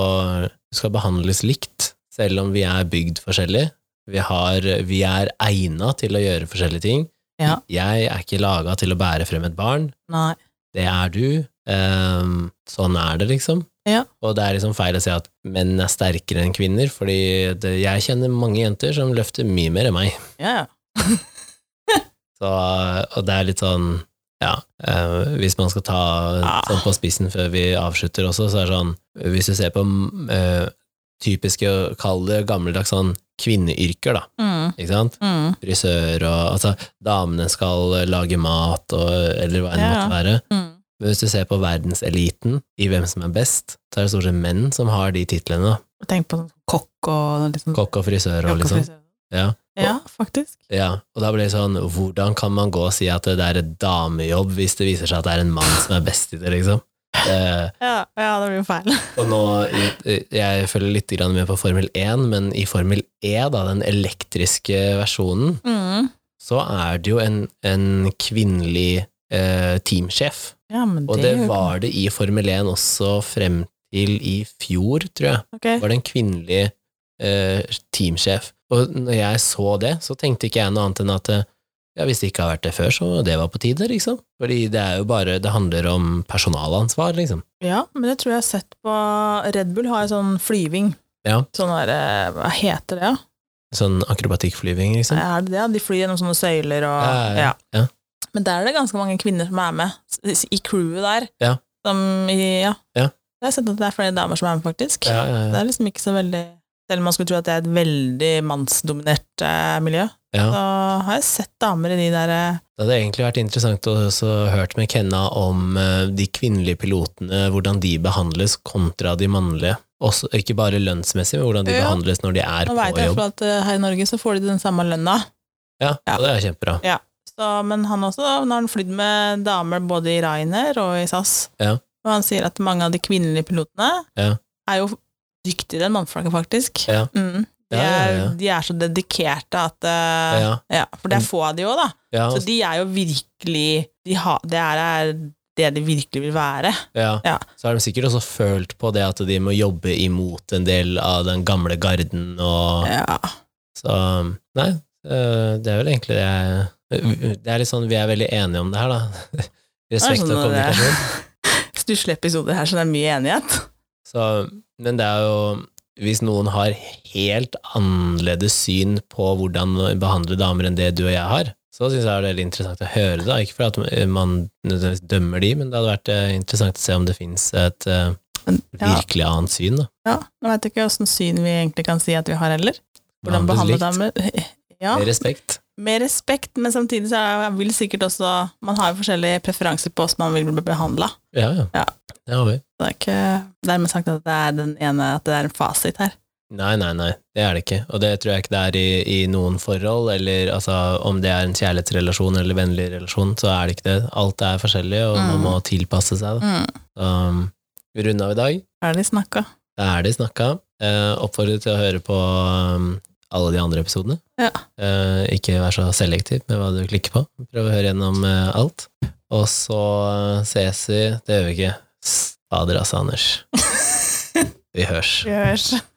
du skal behandles likt, selv om vi er bygd forskjellig. Vi, har, vi er egna til å gjøre forskjellige ting. Ja. Jeg er ikke laga til å bære frem et barn, Nei. det er du. Ehm, sånn er det, liksom. Ja. Og det er liksom feil å si at menn er sterkere enn kvinner, fordi det, jeg kjenner mange jenter som løfter mye mer enn meg. Ja, ja. Så, og det er litt sånn ja, eh, hvis man skal ta Ah. sånn på spissen før vi avslutter også, så er det sånn Hvis du ser på mm, eh, typiske, kall det gammeldags sånn kvinneyrker, da, Mm. ikke sant? Mm. Frisør og altså Damene skal eh, lage mat og eller hva enn det Ja. måtte være. Mm. Men hvis du ser på verdenseliten i hvem som er best, så er det stort sett menn som har de titlene. da. Tenk på sånn kokk og litt sånn Kokk og frisør og liksom. frisør. Ja. Ja, faktisk. Ja, og da blir det sånn, hvordan kan man gå og si at det er et damejobb hvis det viser seg at det er en mann som er best i det, liksom? Eh, Ja, ja det blir jo feil. og nå, jeg følger litt grann med på Formel 1, men i Formel E, da, den elektriske versjonen, Mm. så er det jo en, en kvinnelig eh, teamsjef. Ja, men Og det, det er jo- var det i Formel 1 også frem til i fjor, tror jeg. Ok. var det en kvinnelig eh, teamsjef. Og når jeg så det, så tenkte ikke jeg noe annet enn at eh, ja, hvis det ikke har vært det før, så det var på tide, liksom. Fordi det er jo bare, det handler om personalansvar, liksom. Ja, men det tror jeg jeg har sett på Red Bull har en sånn flyving. Ja. Sånn der, eh, hva heter det? Sånn akrobatikkflyving, liksom. Er det det? De flyr gjennom sånne søyler og Ja, ja, ja. Men der er det ganske mange kvinner som er med, s- i crewet der. Ja. Som i, ja. Ja. Jeg har sett at det er flere damer som er med, faktisk. Ja, ja, ja. Det er liksom ikke så veldig Selv om man skulle tro at det er et veldig mannsdominert eh, miljø, ja. så har jeg sett damer i de der eh, Det hadde egentlig vært interessant å også hørt med Kenna om eh, de kvinnelige pilotene, hvordan de behandles kontra de mannlige. Også, ikke bare lønnsmessig, men hvordan de Ja. behandles når de er Nå på veit jeg i hvert jobb. fall at eh, her i Norge så får de den samme lønna. Ja, Ja. og det er kjempebra. Så, men han også, da, når han flydd med damer både i Ryanair og i SAS, Ja. og han sier at mange av de kvinnelige pilotene Ja. er jo dyktigere enn mannflagget, faktisk. Ja. Mm. Ja, De, ja, er, ja. de er så dedikerte at eh, Ja. Mm. ja, For det er få av de òg, da. Ja, Så de er jo virkelig de har- Det er er det de virkelig vil være. Ja. Ja. Så har de sikkert også følt på det at de må jobbe imot en del av den gamle garden og Ja. Så um, nei, øh, det er vel egentlig det jeg Det er litt sånn vi er veldig enige om det her, da. Respekt og Det er sånn det er. kommunikasjon. Stusslige episoder her, så det er mye enighet. Så, men det er jo Hvis noen har helt annerledes syn på hvordan å behandle damer enn det du og jeg har, så syns jeg det er veldig interessant å høre, da. Ikke for at man nødvendigvis dømmer de, men det hadde vært eh, interessant å se om det fins et eh, Men, ja, virkelig annet syn, da. ja. Nå veit jeg ikke åssen syn vi egentlig kan si at vi har heller. Hvordan behandle Behandles likt. damer Ja, Med respekt. med respekt, men samtidig så er- vil sikkert også Man har jo forskjellige preferanser på hvordan man vil bli behandla. Ja, ja. Ja. Det har vi. Det er ikke dermed sagt at det er den ene at det er en fasit her. Nei, nei, nei. Det er det ikke. Og det tror jeg ikke det er i, i noen forhold, eller altså, om det er en kjærlighetsrelasjon eller vennlig relasjon, så er det ikke det. Alt er forskjellig, og man Mm. må tilpasse seg. Da. Mm. Um, vi runder av i dag. Er det snakka? Da er de snakka. Eh, oppfordrer til å høre på um, alle de andre episodene. Ja. Eh, ikke vær så selektiv med hva du klikker på. Prøv å høre gjennom eh, alt. Og så eh, ses vi Det gjør vi ikke. Fader altså, Anders. Vi hørs. Vi høres.